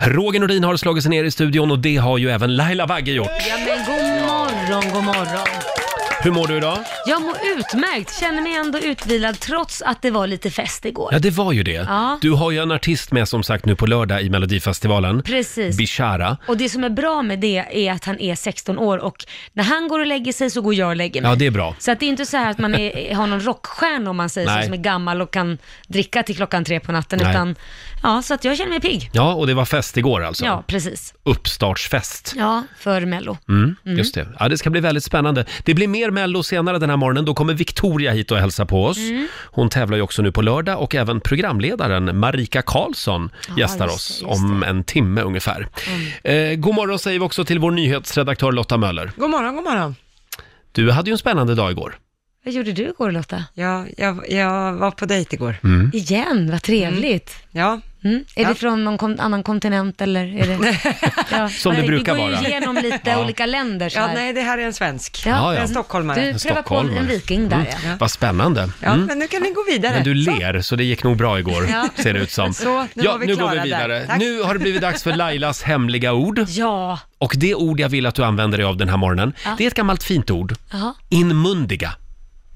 Roger Nordin har slagit sig ner i studion och det har ju även Laila Bagge gjort. Ja men god morgon, god morgon. Hur mår du idag? Jag mår utmärkt, känner mig ändå utvilad trots att det var lite fest igår. Ja, det var ju det. Ja. Du har ju en artist med som sagt nu på lördag i Melodifestivalen. Precis. Bishara. Och det som är bra med det är att han är 16 år och när han går och lägger sig så går jag och lägger mig. Ja, det är bra. Så att det är inte så här att man är, har någon rockstjärna om man säger Nej. så, som är gammal och kan dricka till klockan tre på natten. Nej. Utan, ja, så att jag känner mig pigg. Ja, och det var fest igår alltså. Ja, precis. Uppstartsfest. Ja, för Mello. Mm, Just det. Ja, det ska bli väldigt spännande. Det blir mer Mello senare den här morgonen. Då kommer Victoria hit och hälsa på oss. Hon tävlar ju också nu på lördag och även programledaren Marika Karlsson gästar just oss det, just om en timme ungefär. Eh, god morgon säger vi också till vår nyhetsredaktör Lotta Möller. God morgon, god morgon. Du hade ju en spännande dag igår. Vad gjorde du igår Lotta? Ja, jag, jag var på dejt igår. Mm. Igen, vad trevligt. Ja, Mm. Är Ja. det från någon kon- annan kontinent eller? Är det... ja. Som det Nej, brukar Vi går ju vara. igenom lite Ja. olika länder så ja här. nej, det här är en svensk. Ja. Ja, Mm. ja. En stockholmare. Du prövar på Stockholm. en viking där ja. Vad spännande. Mm. Ja, men nu kan ni gå vidare. Men du ler, så det gick nog bra igår, ser det ut som. Så, nu ja, var vi nu går vi klara vidare. där. Tack. Nu har det blivit dags för Lailas hemliga ord. Ja, Och det ord jag vill att du använder dig av den här morgonen, det är ett gammalt fint ord. Jaha. Inmundiga.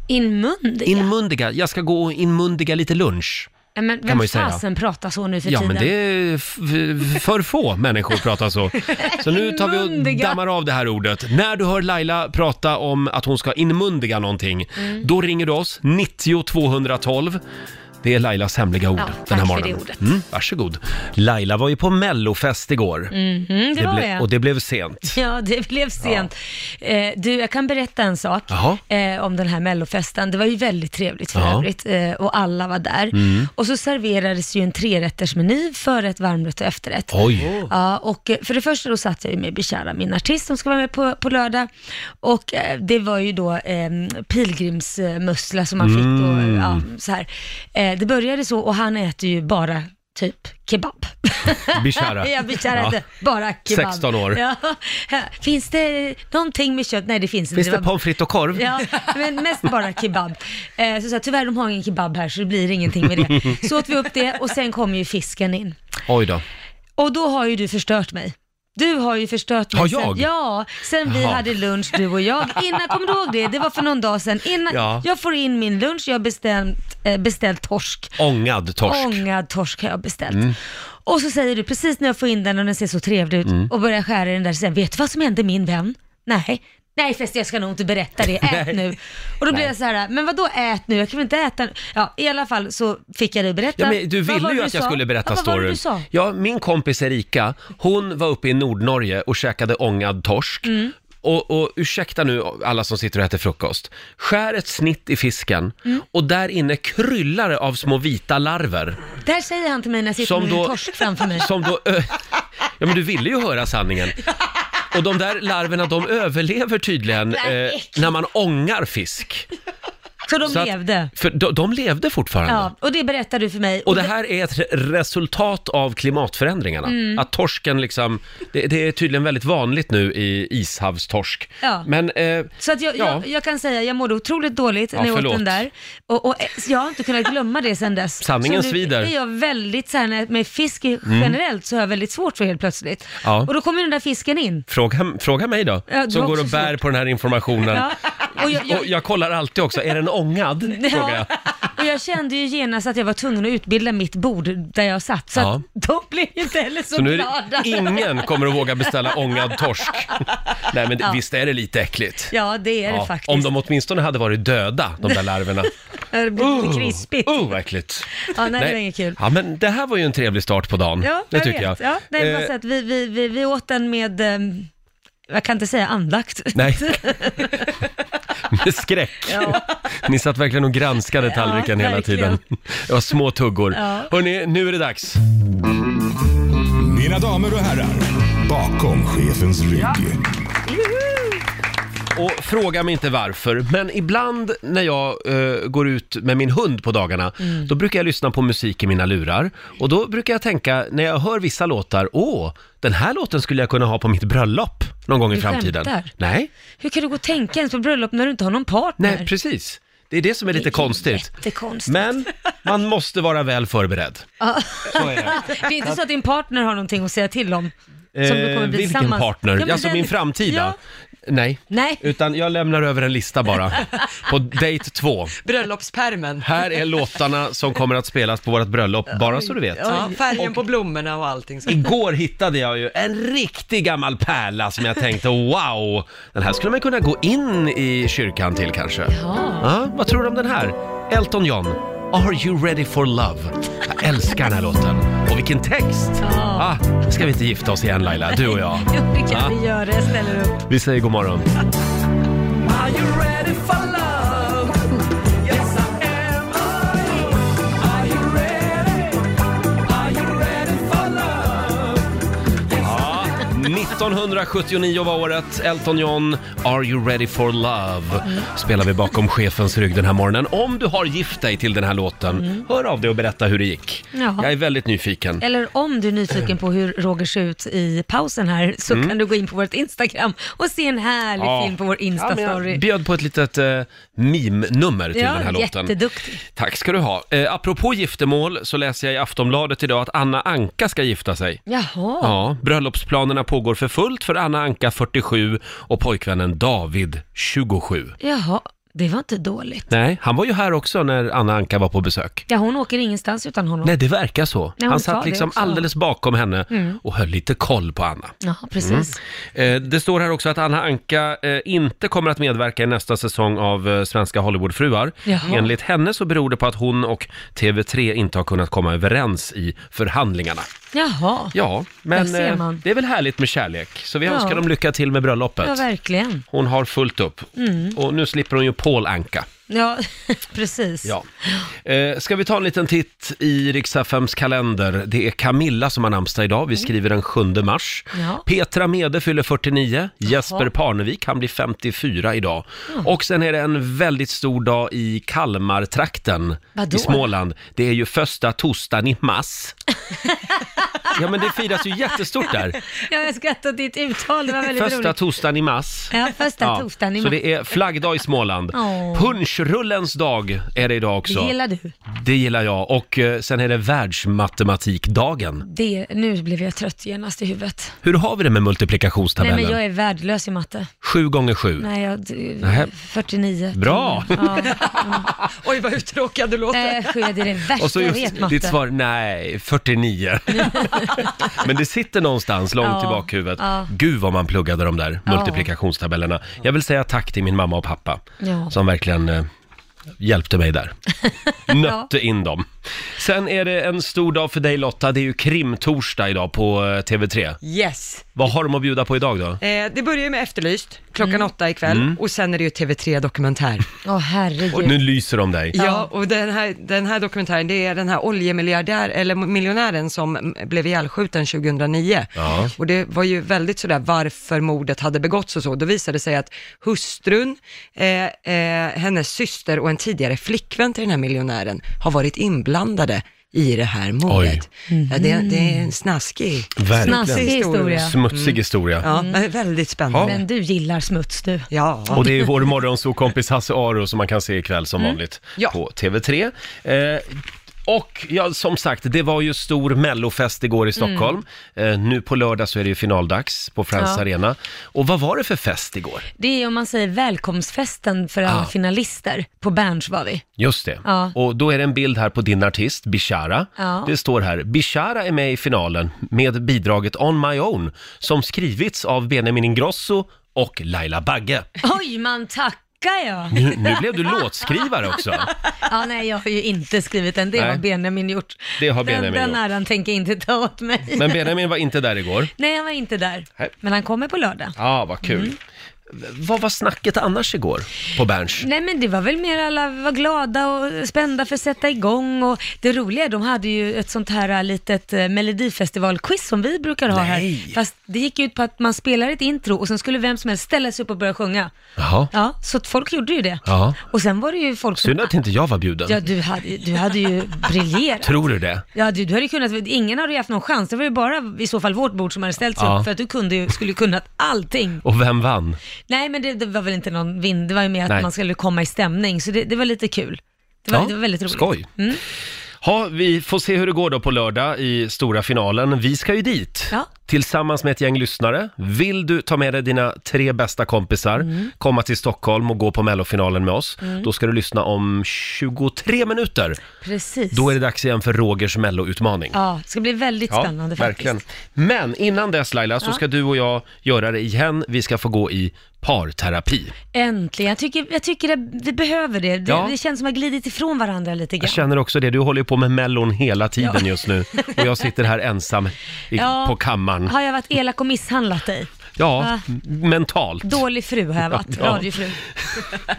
inmundiga. Inmundiga. Jag ska gå och inmundiga lite lunch. Ja, men man ju vem säga. fasen pratar så nu för Ja, tiden? men det är f- f- för få människor pratar så. Så nu tar vi och Inmundiga. dammar av det här ordet. När du hör Laila prata om att hon ska inmundiga någonting, då ringer du oss, 90 212. Det är Lailas hemliga ord Ja, den här tack för det morgonen. ordet. Mm, varsågod. Laila var ju på mellofest igår. Mm, det, Det var ble- det. och det blev sent. Ja, det blev sent. Eh, du, jag kan berätta en sak Jaha. eh, om den här mellofesten. Det var ju väldigt trevligt för Ja. Mm. övrigt eh, och alla var där. Och så serverades ju en trerättersmeny, förrätt, varmrätt och efterrätt. Oj! Ja, och eh, för det första då satt jag ju med Bishara, min artist som ska vara med på, på lördag. Och eh, det var ju då eh, pilgrimsmussla som man fick då, Mm. eh, ja, så här. Eh, det började så och han äter ju bara typ kebab. Bishara. jag Bishara Ja. äter bara kebab. 16 år. Ja. Finns det någonting med kött? Nej det finns inte. Finns det var- pommes frites och korv? Ja, men mest bara kebab. Eh, så sa jag, tyvärr de har ingen kebab här så det blir ingenting med det. Så åt vi upp det och sen kom ju fisken in. Oj då. Och då har ju du förstört mig. Du har ju förstört mig. Har sen- jag? ja, sen vi Jaha. hade lunch du och jag. Innan, kommer du ihåg det? Det var för någon dag sedan. Innan Ja. jag får in min lunch, jag har beställt, eh, beställt torsk. Ångad torsk. Mm. Ångad torsk har jag beställt. Och så säger du precis när jag får in den och den ser så trevlig ut Mm. och börjar skära i den där, sen vet du vad som hände min vän? Nej. Nej förresten, jag ska nog inte berätta det. Nej. Ät nu. Och då blir jag så här, men vad då ät nu? Jag kan väl inte äta nu? Ja, i alla fall så fick jag dig berätta. Ja, men du Vad ville var ju det att du jag sa? skulle berätta ja, vad storyn. Var det du sa? Ja, min kompis Erika, hon var uppe i Nordnorge och käkade ångad torsk. Mm. Och, och ursäkta nu alla som sitter och äter frukost. Skär ett snitt i fisken Mm. och där inne kryllar det av små vita larver. Det här säger han till mig när jag sitter Som med en då- torsk framför mig. Som då... ö- Ja, men du ville ju höra sanningen. Och de där larverna, de överlever tydligen eh, Nej, äckligt. när man ångar fisk. Så de Så att- levde. För de, de levde fortfarande. Ja, och det berättar du för mig. Och det här är ett resultat av klimatförändringarna. Mm. Att torsken liksom, det, det är tydligen väldigt vanligt nu i ishavstorsk. Ja. Men, eh, Så att jag, Ja. jag, jag kan säga, jag mådde otroligt dåligt Ja, när jag förlåt. åt den där. Och, och eh, jag har inte kunnat glömma det sedan dess. Sanningen så nu svider. Mm. är jag väldigt så här, när- med fisk i- generellt så har jag väldigt svårt för helt plötsligt. Ja. Och då kommer den där fisken in. fråga, fråga mig då, Ja, du som har går också och bär svårt. på den här informationen. Ja. Och jag, Och jag, jag kollar alltid också, är den ångad? Frågar jag. och jag kände ju genast att jag var tvungen att utbilda mitt bord där jag satt, så Ja. att de blev ju inte heller så, Så nu är glada. det, ingen kommer att våga beställa ångad torsk. Nej men det- visst är det lite äckligt? Ja, det är det Ja, faktiskt. om de åtminstone hade varit döda, de där larverna. Det blir lite krispigt. Oh, vad äckligt. Ja, nej, det var inget kul. Ja, men det här var ju en trevlig start på dagen. Ja, det jag tycker vet. jag. Ja, nej, det var Eh, så att vi, vi, vi, vi åt den med, ehm, jag kan inte säga andakt. Nej. Med skräck. Ni satt verkligen och granskade tallriken hela verkligen. tiden. Det var små tuggor. Ja. Hörni, nu är det dags. Mina damer och herrar, bakom chefens rygg. Och fråga mig inte varför, men ibland när jag eh, går ut med min hund på dagarna, Mm. då brukar jag lyssna på musik i mina lurar. Och då brukar jag tänka, när jag hör vissa låtar, åh, den här låten skulle jag kunna ha på mitt bröllop någon gång i Du framtiden. skämtar? Nej, Hur kan du gå och tänka ens på bröllop när du inte har någon partner? nej, precis. Det är det som är lite konstigt. Jättekonstigt. Men man måste vara väl förberedd. Ja. Så är det. Det är inte så att din partner har någonting att säga till om? Som du kommer Eh, bli vilken tillsammans. partner? Ja, men alltså den- min framtida? Ja. Nej. Nej. utan jag lämnar över en lista bara. På date två. Bröllopspärmen. Här är låtarna som kommer att spelas på vårt bröllop, bara så du vet. Ja, färgen på blommorna och allting. Så. Igår hittade jag ju en riktig gammal pärla som jag tänkte wow, den här skulle man kunna gå in i kyrkan till kanske. Ja. Ja, vad tror du om den här? Elton John, Are You Ready For Love? Jag älskar den här låten. Och vilken text! Ah, ska vi inte gifta oss igen Laila, du och jag? Jo, det kan Ja. vi göra. Jag ställer upp. Vi säger god morgon. Ja, 1979 var året. Elton John, Are You Ready For Love? Spelar vi bakom chefens rygg den här morgonen. Om du har gift dig till den här låten, hör av dig och berätta hur det gick. Ja. Jag är väldigt nyfiken. Eller om du är nyfiken på hur Roger ser ut i pausen här, så kan du gå in på vårt Instagram och se en härlig Mm. Ja. film på vår Ja, men Insta-story. jag bjöd på ett litet eh, meme-nummer till Ja, den här låten. jätteduktig. Tack ska du ha. Eh, apropå giftermål så läser jag i Aftonbladet idag att Anna Anka ska gifta sig. Jaha. Ja, bröllopsplanerna pågår för fullt för Anna Anka 47 och pojkvännen David 27. Jaha, det var inte dåligt. Nej, han var ju här också när Anna Anka var på besök. Ja, hon åker ingenstans utan honom. Nej, det verkar så. hon han sa satt det liksom också. Mm. alldeles bakom henne och höll lite koll på Anna. Ja, precis. Eh, Det står här också att Anna Anka eh, inte kommer att medverka i nästa säsong av eh, Svenska Hollywoodfruar. Jaha. Enligt henne så beror det på att hon och TV3 inte har kunnat komma överens i förhandlingarna. Jaha, ja, Ja, men Där ser eh, man. det är väl härligt med kärlek, så vi Ja. önskar dem lycka till med bröllopet. verkligen. Mm. Hon har fullt upp. Och nu slipper hon ju Paul Anka. Ja, precis. Ja. Eh, ska vi ta en liten titt i Riks-FMs kalender? Det är Camilla som har namnsdag idag. Vi skriver den 7 mars. Mm. Ja. Petra Mede fyller 49. Jesper Parnevik, han blir 54 idag. Och sen är det en väldigt stor dag i Kalmartrakten Vadå? i Småland. Det är ju första torsdagen i mars. ja, men det firas ju jättestort där. Ja, jag skrattar åt ditt uttal, det var väldigt Första roligt. torsdagen i mars. Ja, första Ja, torsdagen i Så mars. det är flaggdag i Småland. Åh. Punschrullens dag är det idag också. Det gillar du. Det gillar jag. Och eh, sen är det världsmatematikdagen. Det, nu blev jag trött genast i huvudet. Hur har vi det med Nej, multiplikationstabellen? men jag är värdelös i matte. Sju gånger sju. Nej, Mm. jag... d- Nähä. 49. Bra! Ja, Oj, vad uttråkad du låter. nej, jag sked i det värsta Och så jag vet, just matte. ditt svar, nej, 49. Men det sitter någonstans långt Ja, i bakhuvudet. ja. Gud vad man pluggade de där Ja. multiplikationstabellerna. Jag vill säga tack till min mamma och pappa Ja. som verkligen eh, hjälpte mig där. Nötte in dem. Sen är det en stor dag för dig Lotta, det är ju krimtorsdag idag på eh, TV3. Yes. Vad har de att bjuda på idag då? Eh, det börjar ju med Efterlyst klockan åtta ikväll Mm. och sen är det ju TV3 Dokumentär. Åh, Och herregud. nu lyser de dig. Ja, och den här, den här dokumentären, det är den här oljemiljardär, eller miljonären som m- blev ihjälskjuten 2009. Ja. Och det var ju väldigt sådär varför mordet hade begåtts och så. Då visade det sig att hustrun, eh, eh, hennes syster och en tidigare flickvän till den här miljonären har varit inblandade i det här mordet. Ja, det, det är en snaskig, Snaskig Verkligen. historia. Smutsig historia. ja, men väldigt spännande. Men du gillar smuts du. Ja. Och det är vår morgonsokompis Hasse Aro som man kan se ikväll som Mm. vanligt Ja. på TV3. Eh, och ja, som sagt, det var ju stor mellofest Mm. igår i Stockholm. Eh, nu på lördag så är det ju finaldags på Friends Ja. Arena. Och vad var det för fest igår? Det är om man säger välkomstfesten för alla Ja. finalister. På Berns var vi. Just det. Ja. Och då är det en bild här på din artist, Bishara. Ja. Det står här, Bishara är med i finalen med bidraget On My Own som skrivits av Benjamin Ingrosso och Laila Bagge. Oj, man tackar ja. Nu, nu blev du låtskrivare också. Ja, nej, jag har ju inte skrivit den. Det Nej. har Benjamin gjort. Det har Benjamin den, gjort. Den äran tänker jag inte ta åt mig. Men Benjamin var inte där igår. Nej, han var inte där. Nej. Men han kommer på lördag. Ja, vad kul. Mm. V- Vad var snacket annars igår på Berns? Nej men det var väl mer alla var glada och spända för att sätta igång och det roliga är de hade ju ett sånt här äh, litet eh, melodifestivalquiz som vi brukar ha Nej. här. Fast det gick ut på att man spelar ett intro och sen skulle vem som helst ställa sig upp och börja sjunga. Jaha. Ja, så att folk gjorde ju det. Ja. Och sen var det ju folk som... Synd att inte jag var Ja, bjuden. du hade, du hade ju briljerat. Tror du det? Ja, du, du hade ju kunnat, ingen hade ju haft någon chans. Det var ju bara i så fall vårt bord som hade ställt sig Ja. upp för att du kunde ju, skulle ju kunnat allting. Och vem vann? Nej, men det, det var väl inte någon vind, det var ju mer att Nej. man skulle komma i stämning, så det, det var lite kul. Det var, Ja, det var väldigt roligt. skoj. Mm. Ja, vi får se hur det går då på lördag i stora finalen. Vi ska ju dit Ja. tillsammans med ett gäng lyssnare. Vill du ta med dig dina tre bästa kompisar, Mm. komma till Stockholm och gå på mellofinalen med oss, då ska du lyssna om 23 minuter. Precis. Då är det dags igen för Rogers melloutmaning. Ja, det ska bli väldigt spännande faktiskt. verkligen. Men innan dess Laila, så Ja. ska du och jag göra det igen. Vi ska få gå i parterapi. Äntligen. Jag tycker, jag tycker det, vi behöver det. Det, Ja. det känns som att vi har glidit ifrån varandra lite Jag grann. känner också det, du håller ju på med mellon hela tiden just nu och jag sitter här ensam i, Ja. på kammaren. Har jag varit elak och misshandlat dig? Ja, Va? m- mentalt. Dålig fru har jag varit, Ja. radiofru.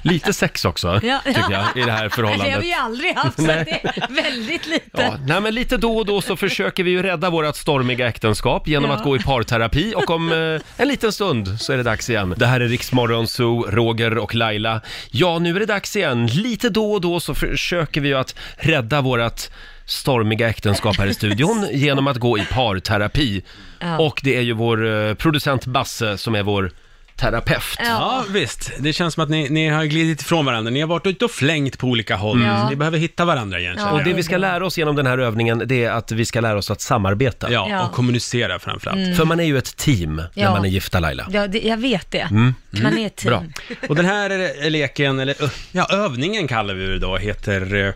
Lite sex också, Ja. tycker jag, i det här Det har förhållandet. vi ju aldrig haft, så det är väldigt lite. Ja, nej men lite då och då så försöker vi ju rädda vårt stormiga äktenskap genom Ja. att gå i parterapi och om eh, en liten stund så är det dags igen. Det här är Riksmorgon Zoo, Roger och Laila. Ja, nu är det dags igen. Lite då och då så försöker vi ju att rädda vårt stormiga äktenskap här i studion genom att gå i parterapi. Ja. Och det är ju vår eh, producent Basse som är vår terapeut. Ja, visst. Det känns som att ni, ni har glidit ifrån varandra. Ni har varit ute och flängt på olika håll. Ja. Ni behöver hitta varandra igen, Ja. känner Och jag. det vi ska lära oss genom den här övningen, det är att vi ska lära oss att samarbeta. Ja, Ja. och kommunicera framförallt. För man är ju ett team när Ja. man är gifta Laila. Ja, det, jag vet det. Mm. Man är ett team. Mm. Bra. Och den här eh, leken, eller ö- ja, övningen kallar vi det då, heter eh,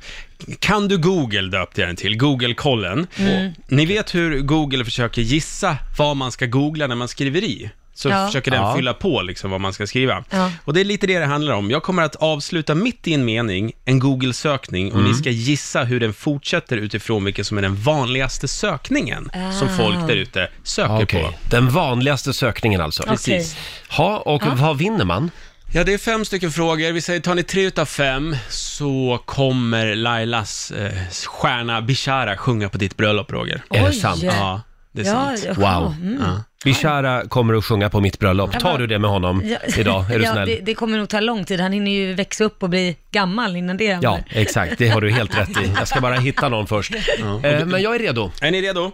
Kan du Google döpte jag den till, Google-kollen. Mm. Och Ni vet hur Google försöker gissa vad man ska googla när man skriver i? Så Ja. försöker den Ja. fylla på liksom vad man ska skriva. Ja. Och det är lite det det handlar om. Jag kommer att avsluta mitt i en mening, en Google-sökning, och Mm. ni ska gissa hur den fortsätter utifrån vilken som är den vanligaste sökningen som Ah. folk där ute söker Okej. på. Den vanligaste sökningen alltså. Precis. Ha, och vad vinner man? Ja, det är fem stycken frågor. Vi säger, tar ni tre utav fem så kommer Lailas eh, stjärna Bishara sjunga på ditt bröllop, Roger. Är det sant? Ja, Ja, det är sant. ja, Wow. Mm. Ja. Bishara kommer att sjunga på mitt bröllop. Tar du det med honom Ja. idag? Är du ja, Det, snäll? det kommer nog ta lång tid. Han hinner ju växa upp och bli gammal innan det händer. Ja, exakt. Det har du helt rätt i. Jag ska bara hitta någon först. Eh, Men jag är redo. Är ni redo?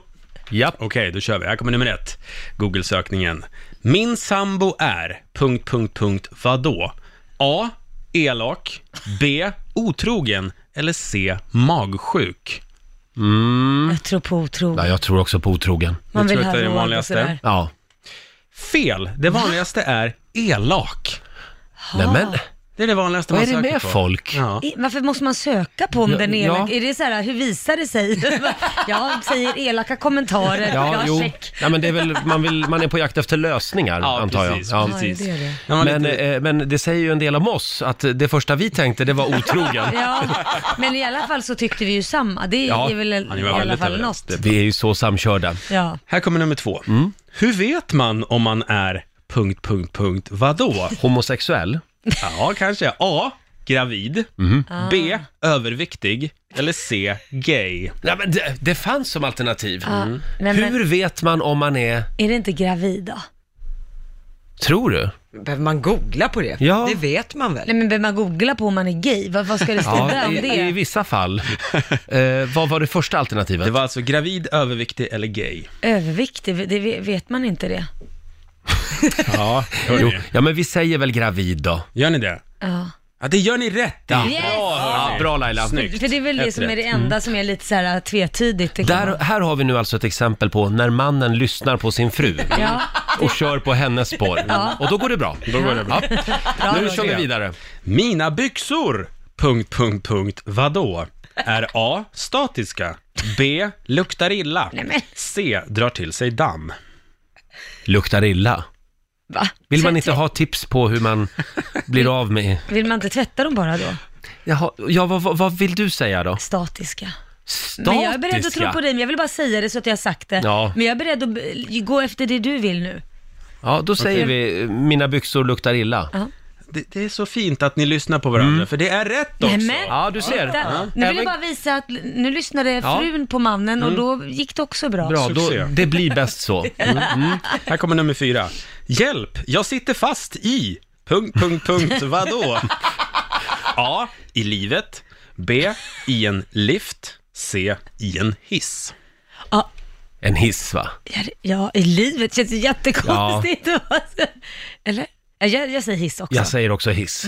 Ja. Okej, då kör vi. Här kommer nummer ett. Google-sökningen. Min sambo är... Punkt, punkt, punkt, vadå? A. Elak. B. Otrogen. Eller C. Magsjuk. Jag tror på otrogen. Mm. ja, jag tror också på otrogen. Man Jag vill tror ha att det är det råd och vanligaste. sådär. Ja. Fel. Det vanligaste är elak. Nej, men Det är det vanligaste vad man är det söker med på. folk? Ja. I- Varför måste man söka på om Ja, den är ja. elak? Är det så här, hur visar det sig? jag säger elaka kommentarer, Ja, jag jo. check. Ja, men det är väl, man, vill, man är på jakt efter lösningar, Ja, antar jag. precis, Ja. precis. Ja, det är det. Ja, Men, lite- eh, men det säger ju en del om oss, att det första vi tänkte, det var otrogen. Ja, men i alla fall så tyckte vi ju samma. Det Ja, är väl var i alla väldigt fall överens. något. Vi är ju så samkörda. Ja. Här kommer nummer två. Mm. Hur vet man om man är... Punkt, punkt, punkt, vadå? Homosexuell? Ja, kanske. A. Gravid. Mhm. B. Överviktig. Eller C. Gay. Nej, men det, det fanns som alternativ. Ja, men, men Mm. Hur vet man om man är... är det inte gravid då? Tror du? Behöver man googla på det? Ja. Det vet man väl? Nej men behöver man googla på om man är gay? Vad, vad ska det stå där om i, i det? vissa fall. eh, vad var det första alternativet? Det var alltså gravid, överviktig eller gay. Överviktig, det ve- vet man inte det? Ja, hör jo, ni? ja, men vi säger väl gravid då? Gör ni det? Ja. Ja, det gör ni rätt i. Yes! hörni. bra, Laila. Snyggt. För det är väl det Ett som är rätt. det enda som är lite så här äh, tvetydigt. Det kan Mm. Där, vara. här har vi nu alltså ett exempel på när mannen lyssnar på sin fru Ja. och kör på hennes spår. Och då går det bra. Då går det bra. Bra, Nu Roger. kör vi vidare. Mina byxor! Punkt, punkt, punkt, vadå? Är A. Statiska. B. Luktar illa. men. C. Drar till sig damm. Luktar illa. Va? Vill man Tvätt- inte ha tips på hur man blir av med... Vill man inte tvätta dem bara då? Jaha, ja, vad, vad- vad vill du säga då? Statiska. Statiska? Men jag är beredd att tro på dig, men jag vill bara säga det så att jag har sagt det. Ja. Men jag är beredd att b- gå efter det du vill nu. Ja, då säger vi eh, mina byxor luktar illa. Det, det är så fint att ni lyssnar på Mm. varandra, för det är rätt också. Nämen. Ja, du ser. Titta, Ja. Nu vill Även- jag bara visa att l- nu lyssnade Ja. Mm. frun på mannen och då gick det också bra. Bra, då, Succé. det blir bäst så. Här kommer nummer fyra. Hjälp, jag sitter fast i... Punkt, punkt, punkt, vadå? A. I livet. B. I en lift. C. I en hiss. Ja, En hiss va? ja, det- ja, i livet känns det jättekonstigt. Eller? Ja, Mm. Jag, jag säger hiss också. Jag säger också hiss.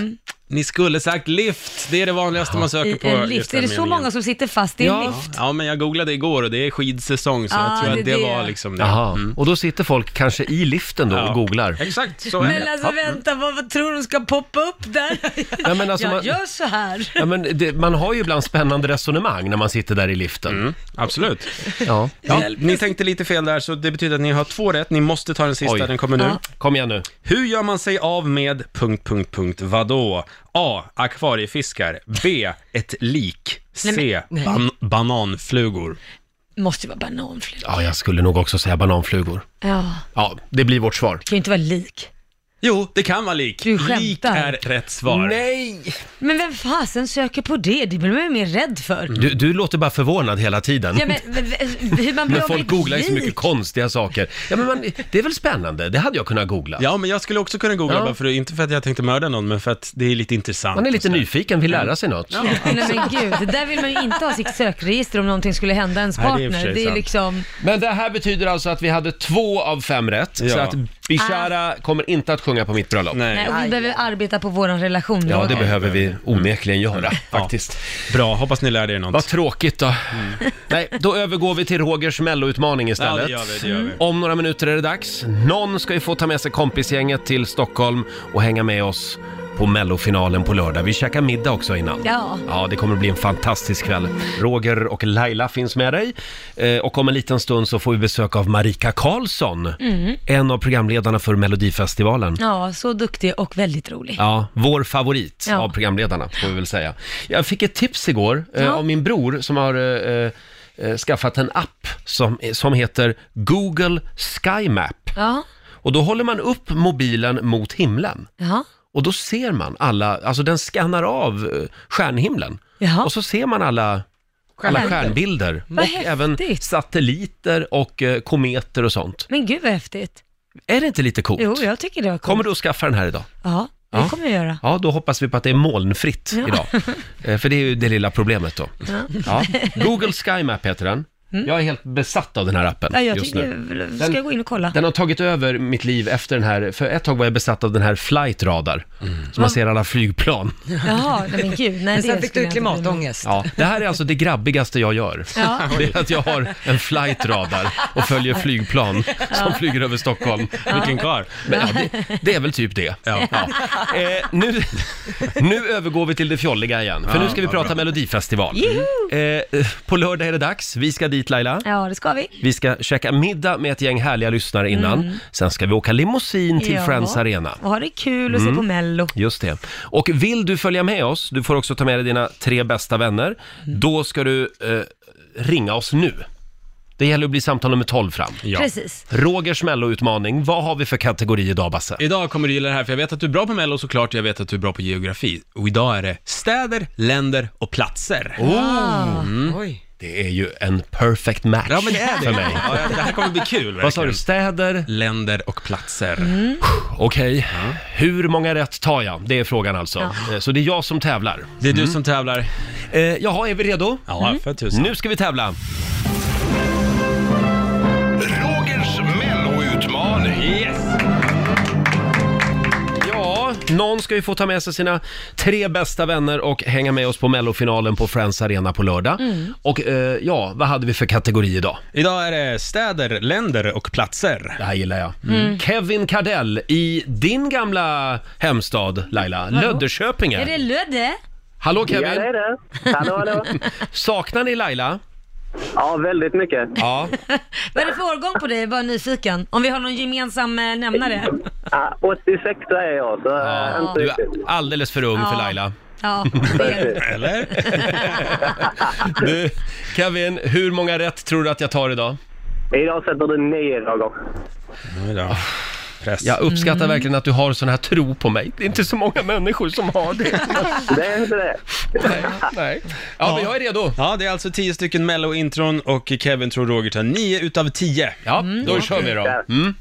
Ni skulle sagt lift, det är det vanligaste man I söker på. en just lift. den Är det så meningen. många som sitter fast i en lift? Ja, men jag googlade igår och det är skidsäsong så Ah, jag tror att det är det, det. var liksom det. Jaha, och då sitter folk kanske i liften då och googlar. Exakt, så är Men det. alltså vänta, vad, vad tror de ska poppa upp där? Ja, men alltså, jag man- gör så här. Ja, men det, man har ju ibland spännande resonemang när man sitter där i liften. Mm, absolut. Ja. Ja, ni tänkte lite fel där, så det betyder att ni har två rätt. Ni måste ta den sista, Oj. den kommer nu. Ja. Kom igen nu. Hur gör man sig av med... Punkt, punkt, punkt, vadå? A. Akvariefiskar. B. Ett lik. C. nej. Ban- bananflugor. Måste ju vara bananflugor. Ja, jag skulle nog också säga bananflugor. Ja, Ja, det blir vårt svar. det kan ju inte vara lik. Jo, det kan vara lik. Du skämtar. Lik är rätt svar. Nej! Men vem fasen söker på det? Det blir man ju mer rädd för. Du, du låter bara förvånad hela tiden. Ja, men, men, hur man blir Men av folk med ett googlar ju så lik? mycket konstiga saker. Ja, men man, det är väl spännande? Det hade jag kunnat googla. Ja, men jag skulle också kunna googla, Ja. bara för, inte för att jag tänkte mörda någon, men för att det är lite intressant. Man är och lite sådär. nyfiken, vill lära sig något. Nej men gud, det där vill man ju inte ha sitt sökregister om någonting skulle hända ens Nej, det är i partner. det och för är, sig sant. liksom, Men det här betyder alltså att vi hade två av fem rätt, så Ja. att Bishara kommer inte att sjunga på mitt bröllop. Nej. nej, och vi behöver arbeta på våran relation. Ja, det Roger. behöver vi onekligen göra faktiskt. Bra, hoppas ni lärde er Vad något. tråkigt då. Nej, då övergår vi till Rogers melloutmaning Mm. Ja, istället. det gör vi, det gör vi. Om några minuter är det dags. Någon ska ju få ta med sig kompisgänget till Stockholm och hänga med oss på mellofinalen på lördag. Vi käkar middag också innan. Ja. Ja, det kommer bli en fantastisk kväll. Roger och Laila finns med dig. Eh, och om en liten stund så får vi besök av Marika Karlsson, en av programledarna för Melodifestivalen. Ja, så duktig och väldigt rolig. Ja, vår favorit Ja. av programledarna får vi väl säga. Jag fick ett tips igår eh, Ja. av min bror som har eh, eh, skaffat en app som, som heter Google Sky Map. Ja, Och då håller man upp mobilen mot himlen. ja. Och då ser man alla, alltså den skannar av eh, stjärnhimlen. Jaha. Och så ser man alla, alla Stjärnbilder. stjärnbilder. Vad och även häftigt. satelliter och eh, kometer och sånt. Men gud vad häftigt. Är det inte lite coolt? Jo, jag tycker det var coolt. Kommer du att skaffa den här idag? Ja, det Ja. kommer jag göra. Ja, då hoppas vi på att det är molnfritt Ja. idag. Eh, För det är ju det lilla problemet då. Ja. Google Sky Map heter den. Jag är helt besatt av den här appen Mm. Ja, jag just tycker, nu. ska Den- jag gå in och kolla? Den har tagit över mitt liv efter den här, för ett tag var jag besatt av den här Flight Radar, Mm. så man ser alla flygplan. Jaha, nej men gud. Nej, Men sen det fick skulle jag du inte bry mig om. klimatångest. Ja, det här är alltså det grabbigaste jag gör. Ja. Det är att jag har en Flight Radar och följer flygplan som flyger över Stockholm. Vilken kvar. Men ja, det, det är väl typ det. Ja. Eh, nu, nu övergår vi till det fjolliga igen, för nu ska vi prata Melodifestival. Eh, på lördag är det dags, vi ska dit Laila. Ja, det ska vi. Vi ska käka middag med ett gäng härliga lyssnare innan. Sen ska vi åka limousin till Mm. Ja. Friends Arena. Mm. Och ha det kul och se på Mello. Just det. Och vill du följa med oss, du får också ta med dig dina tre bästa vänner, Mm. då ska du eh, ringa oss nu. Det gäller att bli samtal nummer 12 fram. Ja. Precis. Rogers melloutmaning, vad har vi för kategori idag Basse? Idag kommer du gilla det här, för jag vet att du är bra på Mello såklart, jag vet att du är bra på geografi. Och idag är det städer, länder och platser. Oh. Oj. Det är ju en perfect match Ja, men det är det. för mig. Ja, det här kommer bli kul Vad sa du? verkligen. Städer? Länder och platser. Okej. Hur många rätt tar jag? Det är frågan alltså. Eh, Så det är jag som tävlar. Det är du som tävlar. Eh, jaha, är vi redo? Mm. Ja, för tusan. Nu ska vi tävla! Rogers melloutmaning. Ja, någon ska ju få ta med sig sina tre bästa vänner och hänga med oss på mellofinalen på Friends Arena på lördag. Mm. Och eh, ja, vad hade vi för kategori idag? Idag är det städer, länder och platser. Det här gillar jag. Mm. Mm. Kevin Cardell i din gamla hemstad Laila, Löddeköpinge. Är det Ludde? Hallå Kevin! Ja, det är det. Hallå, hallå. Saknar ni Laila? Ja, väldigt mycket. Ja. Vad är det för årgång på dig? Jag är bara nyfiken. Om vi har någon gemensam eh, nämnare. Ja, 86 är jag, så ja. inte Du är riktigt. alldeles för ung för Ja. Laila. Ja, det är det. Eller? Du, Kevin, hur många rätt tror du att jag tar idag? Idag sätter du nio dagar. Nej då. Press. Jag uppskattar Mm. verkligen att du har sån här tro på mig. Det är inte så många människor som har det. Det är inte det. Nej, nej. Ja, men jag är redo. Ja, det är alltså tio stycken Mello-intron och Kevin tror Roger tar nio utav tio. Ja, då kör vi då. Ja. Mm.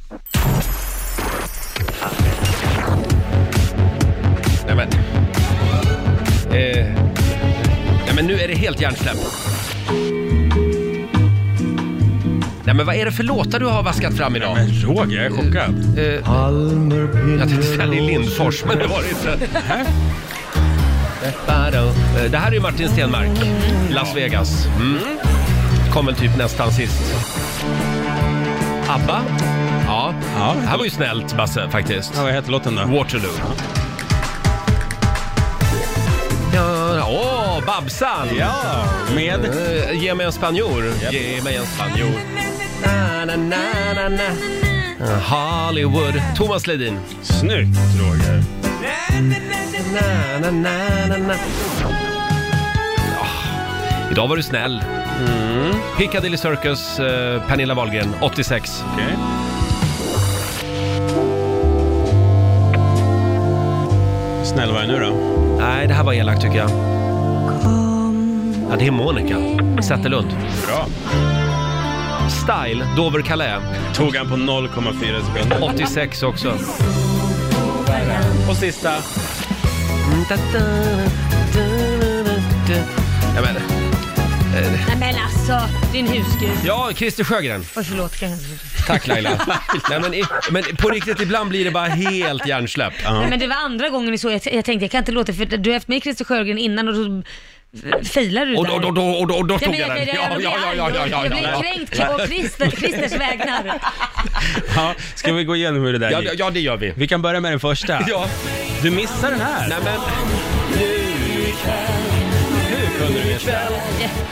Nej, men. Eh. Nej, men nu är det helt hjärnsläpp. Ja, men vad är det för låtar du har vaskat fram idag? Men Roger, jag är chockad. Eh, jag tänkte säga det är Lindfors, men det var det inte. Eh, Det här är ju Martin Stenmark, Las Vegas. Mm. Kom väl typ nästan sist. ABBA? Ja. Ja. Det här var ju snällt, Basse, faktiskt. Ja, vad heter låten då? Waterloo. Ja, Åh, Babsan! Ja, med... Eh, Ge mig en spanjor. Ge mig en spanjor. Na, na, na, na, na. Hollywood. Thomas Ledin. Snyggt Roger. Na, na, na, na, na. Ah, Idag var du snäll. Mm. Piccadilly Circus, eh, Pernilla Wahlgren, 86. Okej. Snäll var jag nu då? Nej, det här var elakt tycker jag. Ja, det är Monica Zetterlund. Bra. Style, Dover-Calais. Tog han på 0,4 sekunder. 86 också. Och sista. Ja, men. Nej men alltså, din husgud. ja, Christer Sjögren. Oj, förlåt. Kan jag... Tack Laila. Nej, men, i, men på riktigt, ibland blir det bara helt hjärnsläpp. Nej men det var andra gången så jag, jag tänkte jag kan inte låta för du har haft med Christer Sjögren innan och då failade du Och där. då, då, då, och då, och då Jag tog blir- jag jag den. blir- Ja, jag blir ja, ja, ja, arg. ja, Jag blir ja, kränkt på Christer, Christers vägnar. Ja, ska vi gå igenom hur det där ja. gick? Ja, det gör vi. Vi kan börja med den första. Ja, Du missar den här. nej men. Hur kunde du missa?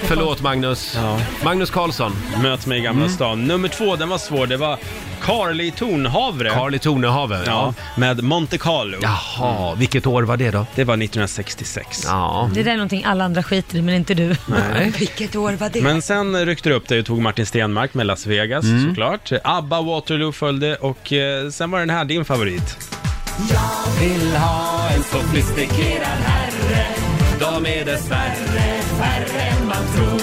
Förlåt Magnus. Ja. Magnus Karlsson, Möt mig i Gamla Mm. stan. Nummer två, den var svår. Det var Carly Tornhavre. Carly Tornehave. ja, med Monte Carlo. Jaha, vilket år var det då? Det var 1966. Ja. Det där är någonting alla andra skiter i men inte du. Nej. Vilket år var det? Men sen ryckte du upp dig och tog Martin Stenmark med Las Vegas Mm. såklart. ABBA Waterloo följde och eh, sen var den här din favorit. Vill ha en sofistikerad herre. De är dessvärre färre än man tror.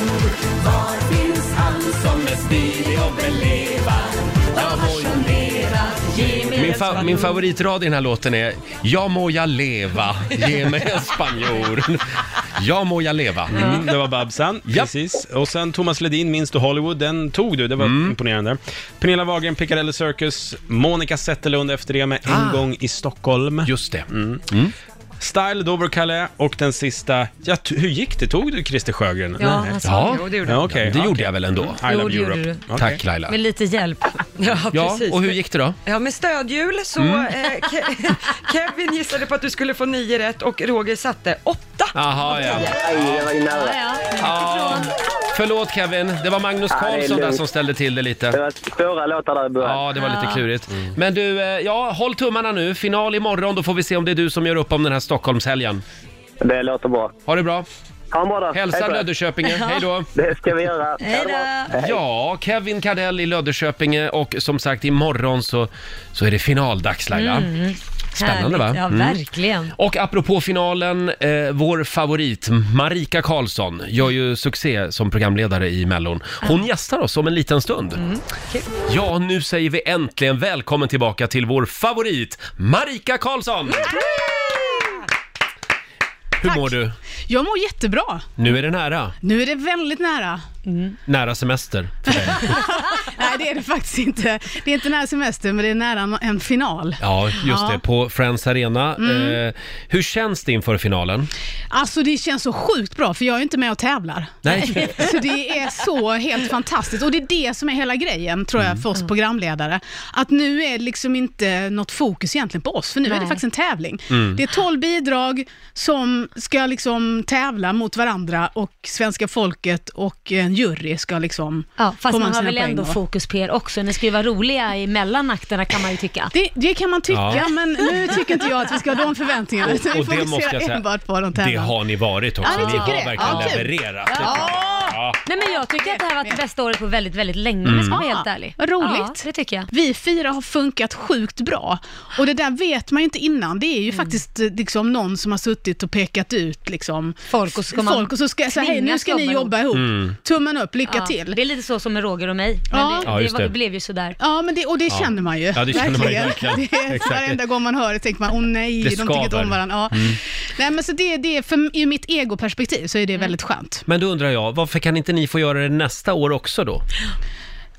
Var finns han som är stilig och vill leva? Jag må ju leva. Min, fa- min favoritrad i den här låten är Jag må jag leva, ge mig en spanjor. Jag må jag leva. Mm, det var Babsan, precis. Och sen Thomas Ledin, Minns du Hollywood? Den tog du, det var Mm. imponerande. Pernilla Wahlgren, Piccadilly Circus, Monica Zetterlund efter det med Ah. En gång i Stockholm. Just det. Style, Dover Calais och den sista, ja, t- hur gick det? Tog du Christer Sjögren? Ja, Nej. han sa Ja, Jo, det gjorde Ja, jag. okej. det Ja, gjorde jag väl ändå. I alltså, Jo, love det gjorde Europe. du. Okej. Tack Laila. med lite hjälp. Ja, Ja, precis. och hur gick Mm. det då? Ja, med stödhjul så eh, Ke- Kevin gissade på att du skulle få nio rätt och Roger satte åtta. Jaha, ja. Aj, det var ju nära. Ja, ja. Ja, förlåt Kevin, det var Magnus Ja, det är Karlsson där lugnt. som ställde till det Det lite. var svåra låtar där i början. Ja, det var lite klurigt. Men du, eh, ja, håll tummarna nu. Final imorgon, då får vi se om det är du som gör upp om den här Stockholmshelgen. Det låter bra. Ha det bra. Ha en bra dag. Hej Hälsa på er. Löddeköpinge. Ja. Hej då. Det ska vi göra. Hej då. Ja, Kevin Kardell i Löddeköpinge och som sagt imorgon så, så är det finaldags Laila. Spännande, va? Härligt. Ja, Mm. verkligen. Och apropå finalen, eh, vår favorit Marika Karlsson gör ju succé som programledare i Mellon. Hon gästar oss om en liten stund. Ja, nu säger vi äntligen välkommen tillbaka till vår favorit Marika Karlsson! Hur mår du? Jag mår jättebra. Nu är det nära. Nu är det väldigt nära. Nära semester. för dig. Nej, det är det faktiskt inte. Det är inte nära semester, men det är nära en final. Ja, just Ja. det. På Friends Arena. Eh, hur känns det inför finalen? Alltså, det känns så sjukt bra, för jag är ju inte med och tävlar. Nej. Så det är så helt fantastiskt. Och det är det som är hela grejen, tror jag, för Mm. oss programledare. Att nu är det liksom inte något fokus egentligen på oss, för nu är det Nej. faktiskt en tävling. Mm. Det är 12 bidrag som ska liksom tävla mot varandra och svenska folket och en jury ska liksom Ja, fast komma man med har sina väl poäng ändå och- fokus på er också. Ni ska ju vara roliga i mellanakterna kan man ju tycka. Det, det kan man tycka, Ja. men nu tycker inte jag att vi ska ha de förväntningarna. Utan Alltså, vi Och det måste fokuserar jag säga, enbart på de det tävlande. har ni varit också. Ja, vi ni tycker har det. verkligen Ja, kul. levererat. Nej men jag tycker att det här har varit det bästa året på väldigt, väldigt länge om Mm. jag ska vara helt ärlig. Vad roligt. Ja, det tycker jag. Vi fyra har funkat sjukt bra och det där vet man ju inte innan. Det är Mm. ju faktiskt eh, liksom någon som har suttit och pekat ut liksom, Folk och så ska man folk och så ska jag säga hej nu tvingas ska ni jobba ihop, Mm. tummen upp, lycka Ja, till. Det är lite så som med Roger och mig. Men Ja. det, Ja, det, just var, det. det blev ju sådär. Ja, men det, och det känner man ju. Ja, det känner man ju verkligen. Det är, Exakt. varenda gång man hör det tänker man, åh nej, Det de tycker inte skaver. om varandra. Ja. Mm. Nej, men så det, det, är- för, ur mitt Mm. egoperspektiv så är det väldigt skönt. Men då undrar jag, varför kan inte ni få göra det nästa år också då?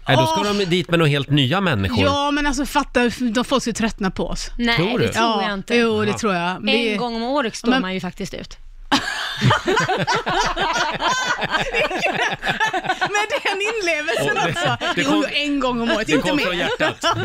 Nej, då ska Åh. de dit med några helt nya människor. Ah. Ja, men alltså fatta, de folk ska ju tröttna på oss. Nej, Tror du? det tror jag inte. Jo, det tror jag. Men det- En gång om året står Men- man ju faktiskt ut. Men den inlevelsen Och det- också. det kom- alltså. jo, en gång om året, det inte kom mer. från hjärtat.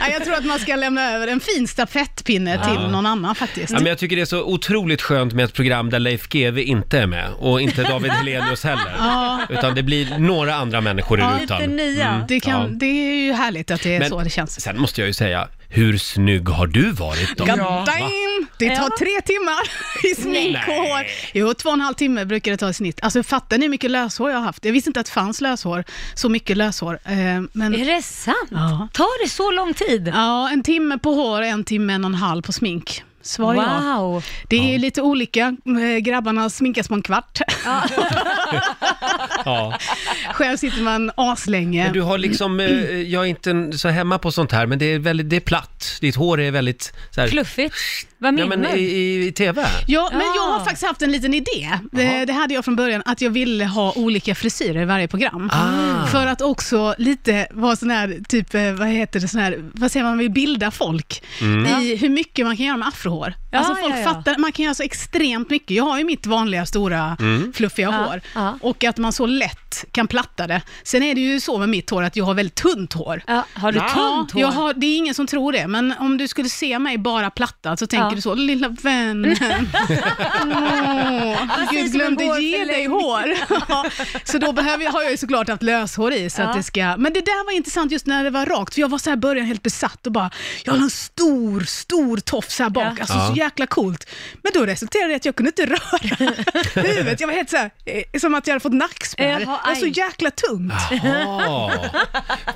Nej, jag tror att man ska lämna över en fin stafettpinne till någon annan faktiskt. Ja, men jag tycker det är så otroligt skönt med ett program där Leif GW inte är med och inte David Hellenius heller. Ja. Utan det blir några andra människor i Lite rutan. nya. Det, kan, Mm. Ja. det är ju härligt att det är så det känns. sen måste jag ju säga, hur snygg har du varit då? God damn! Det Ja. tar tre timmar i smink och hår. Jo, två och en halv timme brukar det ta i snitt. Alltså fattar ni hur mycket löshår jag har haft? Jag visste inte att det fanns löshår. Så mycket löshår. Eh, Är Men det sant? Ja. Tar det så lång tid? ja, en timme på hår, en timme, en och en halv på smink. Svar ja. Wow. Det är ju lite olika. Eh, Grabbarna sminkas på en kvart. Ja. Själv sitter man aslänge. Men du har liksom, eh, jag är inte en- så hemma på sånt här, men det är väldigt, det är platt. Ditt hår är väldigt så här, Fluffigt. Vad Ja, menar men i, du? i, i TV. Ja, men jag har Ah. faktiskt haft en liten idé. Det, det hade jag från början, att jag ville ha olika frisyrer i varje program. Ah. För att också lite vara sån här, typ, eh, vad heter det, sån här, vad säger man, man vill bilda folk i hur mycket man kan göra med afrohår. Mm. Ah, Ja, alltså folk ja, ja. fattar, man kan göra så extremt mycket. Jag har ju mitt vanliga stora Mm. Ah, fluffiga hår ja. och att man så lätt kan platta det. Sen är det ju så med mitt hår att jag har väldigt tunt hår. Ja, har du tunt hår? Jag har, det är ingen som tror det, men om du skulle se mig bara platta så tänker Ja. du så, lilla vännen. Åh, Precis Gud som en glömde ge dig hårförlängning. hår. Ja, så då behöver jag, har jag ju såklart haft löshår i. Så Ja. att det ska, men det där var intressant just när det var rakt, för jag var så här i början helt besatt och bara, jag har en stor, stor tofs här bak, alltså så Ja. jäkla coolt. Men då resulterade det i att jag kunde inte röra huvudet, jag var helt så här, eh, som att jag hade fått nackspärr. Det Jaha, var så aj. jäkla tungt. Ja. Ah.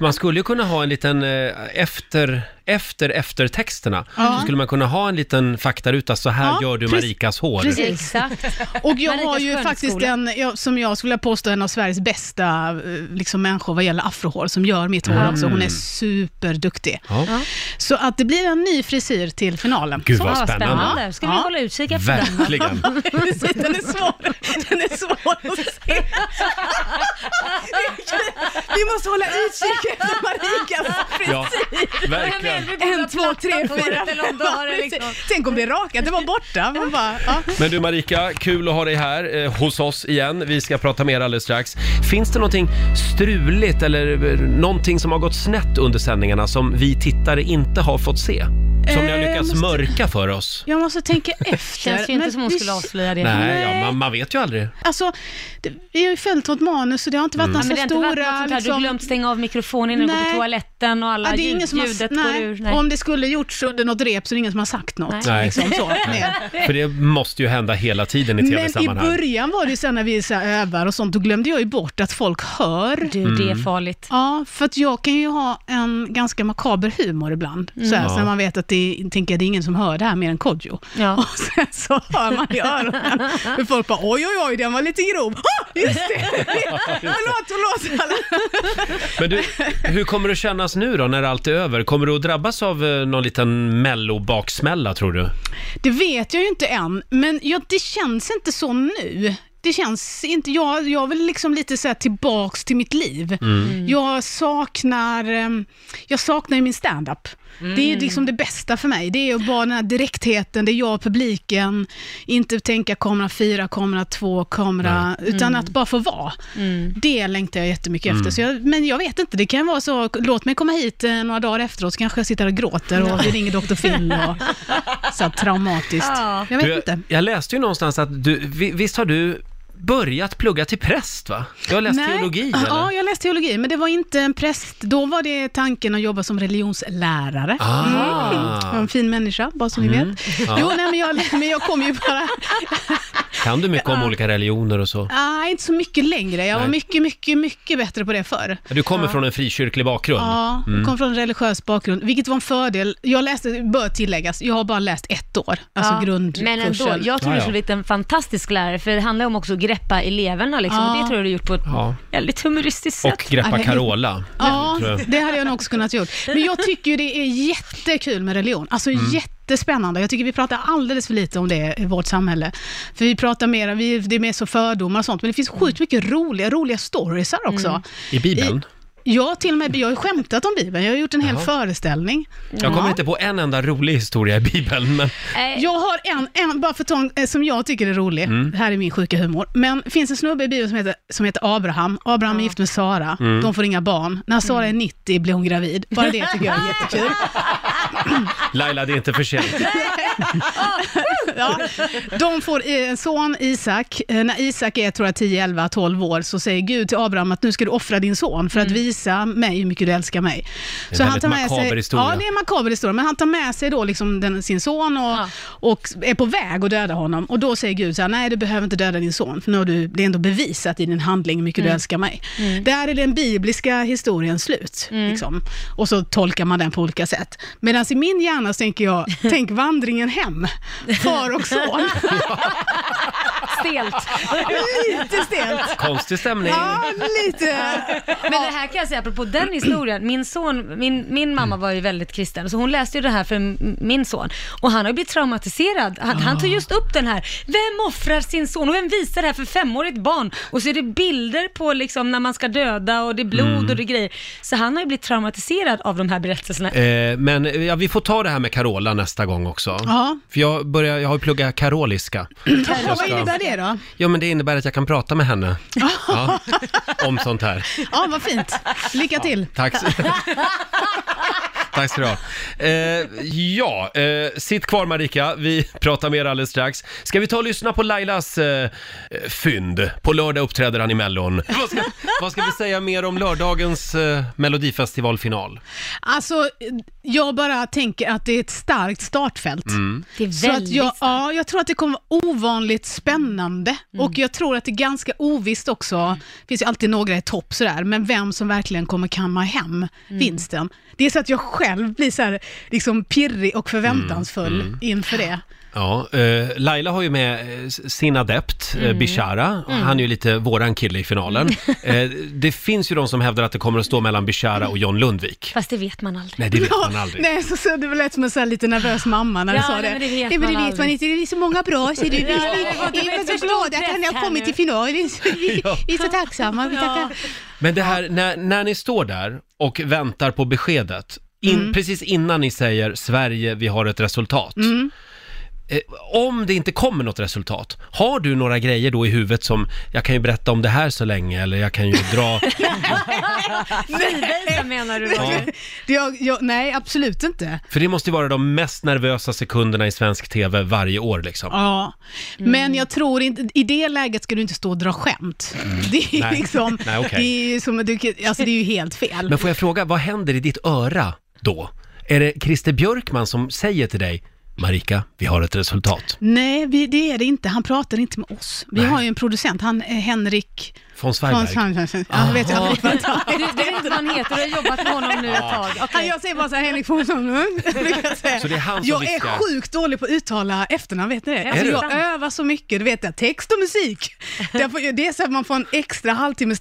Man skulle ju kunna ha en liten eh, efter, efter eftertexterna. Ja. Så skulle man kunna ha en liten faktaruta, så här Ja, gör du precis- Marikas hår. precis. Exakt. Och jag Marikas har ju skönhetsskola. faktiskt en, jag, som jag skulle vilja påstå, en av Sveriges bästa eh, liksom, människor vad gäller afrohår, som gör mitt hår också. Mm. Hon är superduktig. Ja. Så att det blir en ny frisyr till finalen. Gud vad Ja, spännande. spännande. Ska vi Ja. hålla utkik efter den? va? Verkligen. Precis, den är svår. Den är svår att se. Vi måste hålla utkik efter Marikas Ja, Men verkligen. vi borde en, ha två, tre, plattat fyra, håret eller om du har det liksom. fem. Tänk om det är rakat, det var borta. Man bara, ja. Men du Marika, kul att ha dig här eh, hos oss igen. Vi ska prata mer alldeles strax. Finns det någonting struligt eller eh, någonting som har gått snett under sändningarna som vi tittare inte har fått se? Som ni har Eh, lyckats måste- mörka för oss? Jag måste tänka efter. Känns ju inte Men som hon vi- skulle avslöja det. Nej, Nej. ja, man, man vet ju aldrig. Alltså, det, vi har ju följt något manus så det har inte varit några Mm. Ja, men det så har inte varit något stora... liksom- sånt här, du har glömt stänga av mikrofonen innan du går Nej. på toaletten och alla Ja, det är ingen ljud, som har, ljudet går nej. ur. Och Om det skulle gjorts under något rep så är det ingen som har sagt något. Nej. Liksom så. Nej. För det måste ju hända hela tiden i Men i tv-sammanhang. början var det ju sen när vi så här övar och sånt, då glömde jag ju bort att folk hör. Du, det är Mm. farligt. Ja, för att jag kan ju ha en ganska makaber humor ibland. Så Mm. här, Ja. så när man vet att det, tänker, det är ingen som hör det här mer än Kodjo. Ja. Och sen så hör man i öronen hur folk bara oj, oj, oj, den var lite grov. Ah, just det! Förlåt, förlåt alla. Men du, hur kommer det kännas nu då när allt är över? Kommer du att drabbas av eh, någon liten mello-baksmälla tror du? Det vet jag ju inte än, men ja, det känns inte så nu. Det känns inte, jag, jag vill liksom lite så här tillbaks till mitt liv. Jag saknar, ehm, jag saknar ju min standup. Det är ju liksom det bästa för mig. Det är ju bara den här direktheten, det är jag och publiken, inte tänka kamera fyra, kamera två, kamera, utan att bara få vara. Det längtar jag jättemycket efter. Så jag, men jag vet inte, det kan vara så, låt mig komma hit eh, några dagar efteråt så kanske jag sitter och gråter och vi ringer Dr. Phil och så här traumatiskt. Ja. Jag vet du, inte. jag, jag läste ju någonstans att du, vi- visst har du börjat plugga till präst va? Du har läst teologi eller? Ja, jag läste teologi, men det var inte en präst. Då var det tanken att jobba som religionslärare. Mm. Ah. Mm. Jag var en fin människa, bara så ni vet. Jo, nej, men, jag, men jag kom ju bara... Kan du mycket om olika religioner och så? Nej, inte så mycket längre. Jag var Nej. mycket, mycket, mycket bättre på det förr. Du kommer från en frikyrklig bakgrund. Ja, Mm. jag kom från en religiös bakgrund, vilket var en fördel. Jag läste, bör tilläggas, jag har bara läst ett år, alltså Ja, grundkursen. Men ändå, jag tror Ja, du ja. skulle bli en fantastisk lärare, för det handlar ju om också greppa eleverna liksom. Ja. Och det tror jag du gjort på ett Ja. väldigt humoristiskt sätt. Och Greppa Carola. Ja, tror jag. det hade jag nog också kunnat gjort. Men jag tycker ju det är jättekul med religion. Alltså Mm. jättespännande. Jag tycker vi pratar alldeles för lite om det i vårt samhälle. För vi pratar mer, vi, det är mer så fördomar och sånt, men det finns sjukt mycket roliga, roliga storiesar också. Mm. I Bibeln. Jag till och med, jag har ju skämtat om Bibeln, jag har gjort en hel Jaha. föreställning. Jag kommer Ja. inte på en enda rolig historia i Bibeln, men Nej, Jag har en, en bara för att ta en eh, som jag tycker är rolig. Mm. Det här är min sjuka humor. Men det finns en snubbe i Bibeln som heter, som heter Abraham. Abraham är gift med Sara. Mm. De får inga barn. När Sara är 90 blir hon gravid. Bara det tycker jag är jättekul. Laila, det är inte för sent. Ja. De får eh, en son, Isak. Eh, När Isak är tror jag, 10, 11, 12 år så säger Gud till Abraham att nu ska du offra din son för att visa mig hur mycket du älskar mig. en Mm. väldigt makaber sig, historia. Ja, det är en makaber historia. Men han tar med sig då liksom den, sin son och, Ja. och är på väg att döda honom. Och då säger Gud så här, nej du behöver inte döda din son för nu har du, det är ändå bevisat i din handling hur mycket du älskar mig. Där är den bibliska historien slut. Liksom. Och så tolkar man den på olika sätt. Medan i min hjärna så tänker jag, tänk vandringen hem. Far och son. stelt. lite stelt. Konstig stämning. Ja, lite. Men det här kan jag säga apropå den historien. Min son, min, min Mm. mamma var ju väldigt kristen, så hon läste ju det här för m- min son. Och han har ju blivit traumatiserad. Han, han Ah. tog just upp den här. Vem offrar sin son och vem visar det här för femårigt barn? Och så är det bilder på liksom när man ska döda och det är blod Mm. och det är grejer. Så han har ju blivit traumatiserad av de här berättelserna. Eh, men eh, ja, vi får ta det här med Carola nästa gång också. Ja. För jag, börjar, jag har ju pluggat karoliska. Ja, vad innebär det då? Ja, men det innebär att jag kan prata med henne ja, om sånt här. Ja, vad fint. Lycka till. Tack, så- Tack ska du ha. Eh, ja, eh, sitt kvar Marika. Vi pratar mer alldeles strax. Ska vi ta och lyssna på Lailas eh, fynd? På lördag uppträder han i Mellon. Vad ska, vad ska vi säga mer om lördagens eh, Melodifestivalfinal? Alltså, jag bara tänker att det är ett starkt startfält. Det är Så att väldigt jag, ja, jag tror att det kommer vara ovanligt spännande Mm. och jag tror att det är ganska ovisst också. Det finns ju alltid några i topp sådär, men vem som verkligen kommer kamma Mm. hem vinsten. Det är så att jag själv blir så här, liksom pirrig och förväntansfull inför det. Ja, eh, Laila har ju med eh, s- sin adept eh, Bishara. Och Han är ju lite våran kille i finalen. eh, det finns ju de som hävdar att det kommer att stå mellan Bishara och John Lundvik. Fast det vet man aldrig. Nej, det vet man aldrig. Nej, så, så det var lätt som en så här lite nervös mamma när du Ja, sa nej, det. men det vet nej, men det man vet man aldrig. inte. Det är så många bra, ser du. Vi, vi, Ja, det var- det vi var är ett så för glada stort att han träff har här kommit nu. till final. Vi, vi, vi är så tacksamma. Vi tackar. Men det här, när, när ni står där och väntar på beskedet, in, Mm. precis innan ni säger Sverige, vi har ett resultat. Mm. Eh, Om det inte kommer något resultat, har du några grejer då i huvudet som jag kan ju berätta om det här så länge eller jag kan ju dra... Fridansa menar du då? Det- Jag, jag, nej, absolut inte. För det måste ju vara de mest nervösa sekunderna i svensk TV varje år liksom. Ja. Men Mm. jag tror inte, i det läget ska du inte stå och dra skämt. Det är Mm. Nej. liksom, Nej, okej. det är ju som, du kan- alltså det är ju helt fel. Men får jag fråga, vad händer i ditt öra då? Är det Christer Björkman som säger till dig, Marika, vi har ett resultat? Nej, vi, det är det inte. Han pratar inte med oss. Vi Nej. har ju en producent, han är Henrik... Från Hans Sverigeberg? Hansson. Ja, jag vet ju aldrig vad han Du, du vet vad han heter, du har jobbat med honom nu ett tag. Ja, Okej. jag säger bara så här, Henrik von Sundlund, brukar jag säga. Så det är han som Jag viskar. är sjukt dålig på att uttala efternamn, vet ni det? Är Alltså, du? jag övar så mycket, du vet det, text och musik. Därför, det är så att man får en extra halvtimmes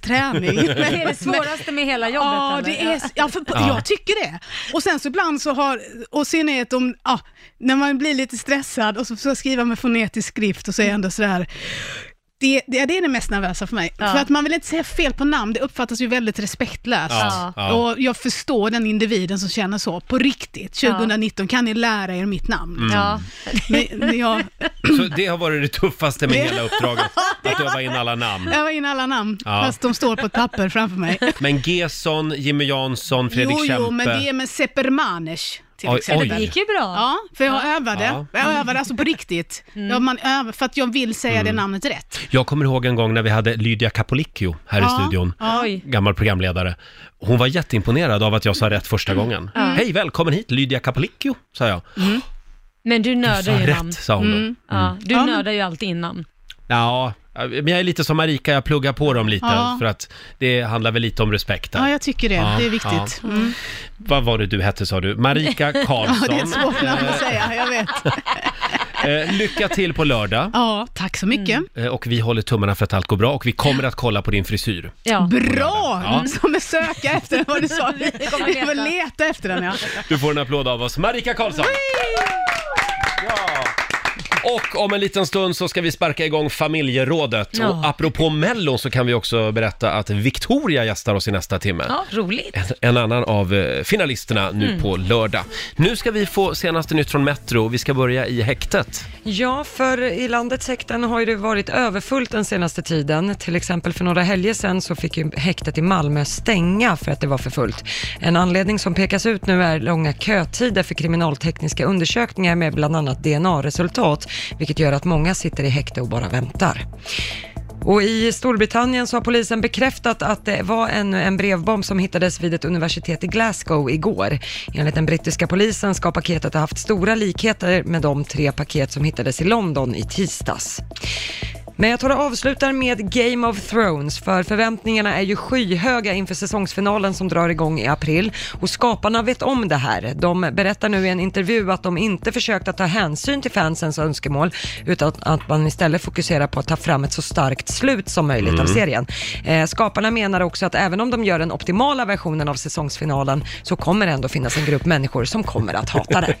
träning. Det är det svåraste med hela jobbet Ja, eller? det är, ja, för, jag tycker det. Och sen så ibland så har, och i synnerhet om, ja, när man blir lite stressad och så ska jag skriva med fonetisk skrift och så är jag ändå sådär, det, det, det är det mest nervösa för mig. För att man vill inte säga fel på namn, det uppfattas ju väldigt respektlöst. Ja, ja. Och jag förstår den individen som känner så, på riktigt. 2019, kan ni lära er mitt namn? Mm. Ja. Men, men jag, Så det har varit det tuffaste med hela uppdraget, att öva in alla namn. jag var in alla namn, Ja. fast de står på ett papper framför mig. Men Gesson, Jimmy Jansson, Fredrik jo, jo, men Kempe. det är med Sepermanes till Oj, exempel. Det oj. gick ju bra. Ja, för jag övade. Ja. Jag övade alltså på riktigt. Ja, man övar för att jag vill säga Mm. det namnet rätt. Jag kommer ihåg en gång när vi hade Lydia Capolicchio här i Ja. studion, Oj. gammal programledare. Hon var jätteimponerad av att jag sa rätt första gången. Hej, välkommen hit Lydia Capolicchio, sa jag. Men du Sa nördar ju namn. rätt, sa hon Mm. då. Ja, du Ja, men- nördar ju alltid in namn. Ja, men jag är lite som Marika, jag pluggar på dem lite Ja. för att det handlar väl lite om respekt där. Ja, jag tycker det. Ja, det är viktigt. ja. Mm. Vad var det du hette sa du? Marika Ja, det är ett Karlsson. svårt namn att säga, jag vet. Eh, lycka till på lördag. Ja, tack så mycket. Eh, Och vi håller tummarna för att allt går bra och vi kommer att kolla på din frisyr. Ja. Bra! Ja. Som att söka efter vad du sa. Vi kommer vi får leta. leta efter den ja. Du får en applåd av oss, Marika Karlsson! Ja. Och om en liten stund så ska vi sparka igång familjerådet. Och Ja. apropå Mello så kan vi också berätta att Victoria gästar oss i nästa timme. ja, roligt. En annan av eh, finalisterna nu på lördag. Nu ska vi få senaste nytt från Metro och vi ska börja i häktet. Ja, för i landets häkten har ju det varit överfullt den senaste tiden. Till exempel för några helger sedan så fick ju häktet i Malmö stänga för att det var för fullt. En anledning som pekas ut nu är långa kötider för kriminaltekniska undersökningar med bland annat DNA-resultat, vilket gör att många sitter i häkte och bara väntar. Och i Storbritannien så har polisen bekräftat att det var en, en brevbomb som hittades vid ett universitet i Glasgow igår. Enligt den brittiska polisen ska paketet ha haft stora likheter med de tre paket som hittades i London i tisdags. Men jag tar och avslutar med Game of Thrones, för förväntningarna är ju skyhöga inför säsongsfinalen som drar igång i april. Och skaparna vet om det här. De berättar nu i en intervju att de inte försökt att ta hänsyn till fansens önskemål, utan att man istället fokuserar på att ta fram ett så starkt slut som möjligt av Mm. serien. Eh, skaparna menar också att även om de gör den optimala versionen av säsongsfinalen, så kommer det ändå finnas en grupp människor som kommer att hata det.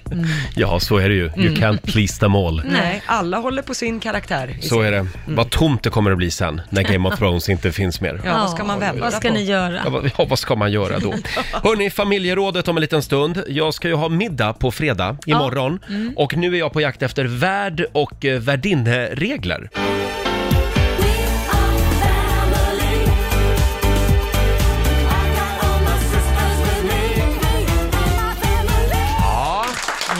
Ja, så är det ju. Mm. You can't please them all. Nej, alla håller på sin karaktär. Så är det. Mm. Vad tomt det kommer att bli sen när Game of Thrones inte finns mer. Ja, vad ska man vända Vad ska på? ni göra? Ja, vad- ja, vad ska man göra då? Hörni, familjerådet om en liten stund. Jag ska ju ha middag på fredag, imorgon. Mm. Och nu är jag på jakt efter värd och eh, värdinneregler.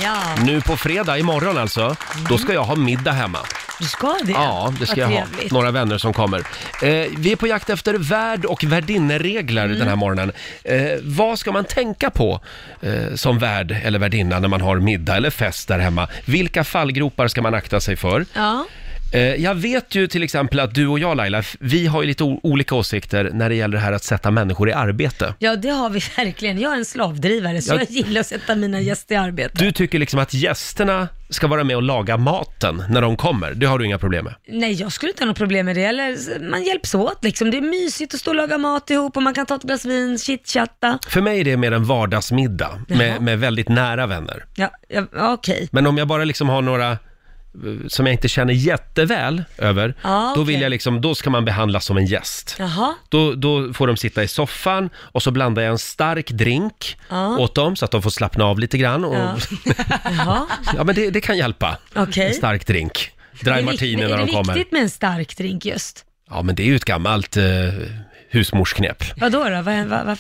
Ja, Nu på fredag, imorgon alltså, då ska jag ha middag hemma. du ska det? Ja, det ska jag Vad ha. trevligt. Några vänner som kommer. Eh, vi är på jakt efter värd och värdinneregler Mm. den här morgonen. Eh, vad ska man tänka på eh, som värd eller värdinna när man har middag eller fest där hemma? Vilka fallgropar ska man akta sig för? Ja, Eh, Jag vet ju till exempel att du och jag Laila, f- vi har ju lite o- olika åsikter när det gäller det här att sätta människor i arbete. ja, det har vi verkligen. Jag är en slavdrivare, så Ja. jag gillar att sätta mina gäster i arbete. Du tycker liksom att gästerna ska vara med och laga maten när de kommer. Det har du inga problem med. Nej, jag skulle inte ha något problem med det. Eller, man hjälps åt liksom. Det är mysigt att stå och laga mat ihop och man kan ta ett glas vin, chitchatta. För mig är det mer en vardagsmiddag Jaha. med, med väldigt nära vänner. Ja, ja, ja, okej. Men om jag bara liksom har några eh, som jag inte känner jätteväl över, Ja, då Ah, okej. vill jag liksom, då ska man behandlas som en gäst. Jaha. Då, då får de sitta i soffan och så blandar jag en stark drink Ja. åt dem så att de får slappna av lite grann och Ah. Ja. Jaha. Ja, men det, det kan hjälpa. Okej. En stark drink. Det Dry är martini viktigt- när de Är det kommer. viktigt med en stark drink just? Ja, men det är ju ett gammalt eh, husmorsknep. Vadå då? Vad, vad, vad?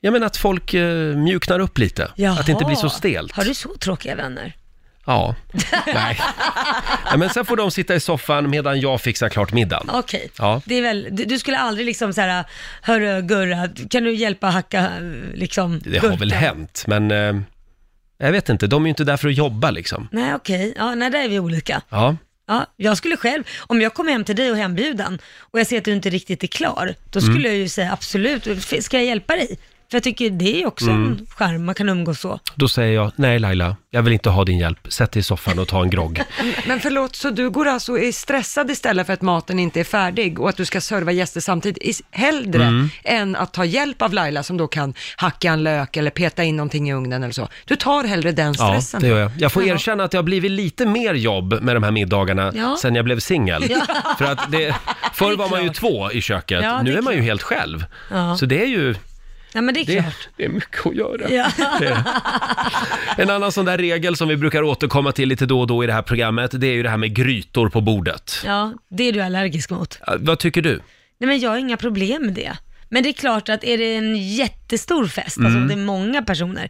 Ja, men att folk eh, mjuknar upp lite. Jaha. Att det inte blir så stelt. Har du så tråkiga vänner? Ja. Nej. Ja, men sen får de sitta i soffan medan jag fixar klart middagen. Okej. Ja. Det är väl, du, du skulle aldrig liksom så här, hörru Gurra, kan du hjälpa hacka liksom Det har väl gurkan?" hänt, men eh, jag vet inte. De är ju inte där för att jobba liksom. Nej okej, ja, nej där är vi olika. Ja. Ja, jag skulle själv, om jag kommer hem till dig och hembjudan och jag ser att du inte riktigt är klar, då Mm. skulle jag ju säga absolut, f- ska jag hjälpa dig? För jag tycker det är också Mm. en charm, man kan umgås så. Då säger jag, nej Laila, jag vill inte ha din hjälp. Sätt dig i soffan och ta en grogg. Men förlåt, så du går alltså och är stressad istället för att maten inte är färdig och att du ska serva gäster samtidigt, is- hellre Mm. än att ta hjälp av Laila som då kan hacka en lök eller peta in någonting i ugnen eller så. Du tar hellre den Ja, stressen. det gör jag. Jag får erkänna att det har blivit lite mer jobb med de här middagarna Ja. sen jag blev singel. För att det, förr var man ju klart. två i köket, Ja, det nu är är man ju klart. helt själv. Ja. Så det är ju... Nej men det är Det, klart. det är mycket att göra. Ja. En annan sån där regel som vi brukar återkomma till lite då och då i det här programmet, det är ju det här med grytor på bordet. ja, det är du allergisk mot. Eh, Vad tycker du? Nej men jag har inga problem med det. Men det är klart att är det en jättestor fest, alltså Mm. om det är många personer,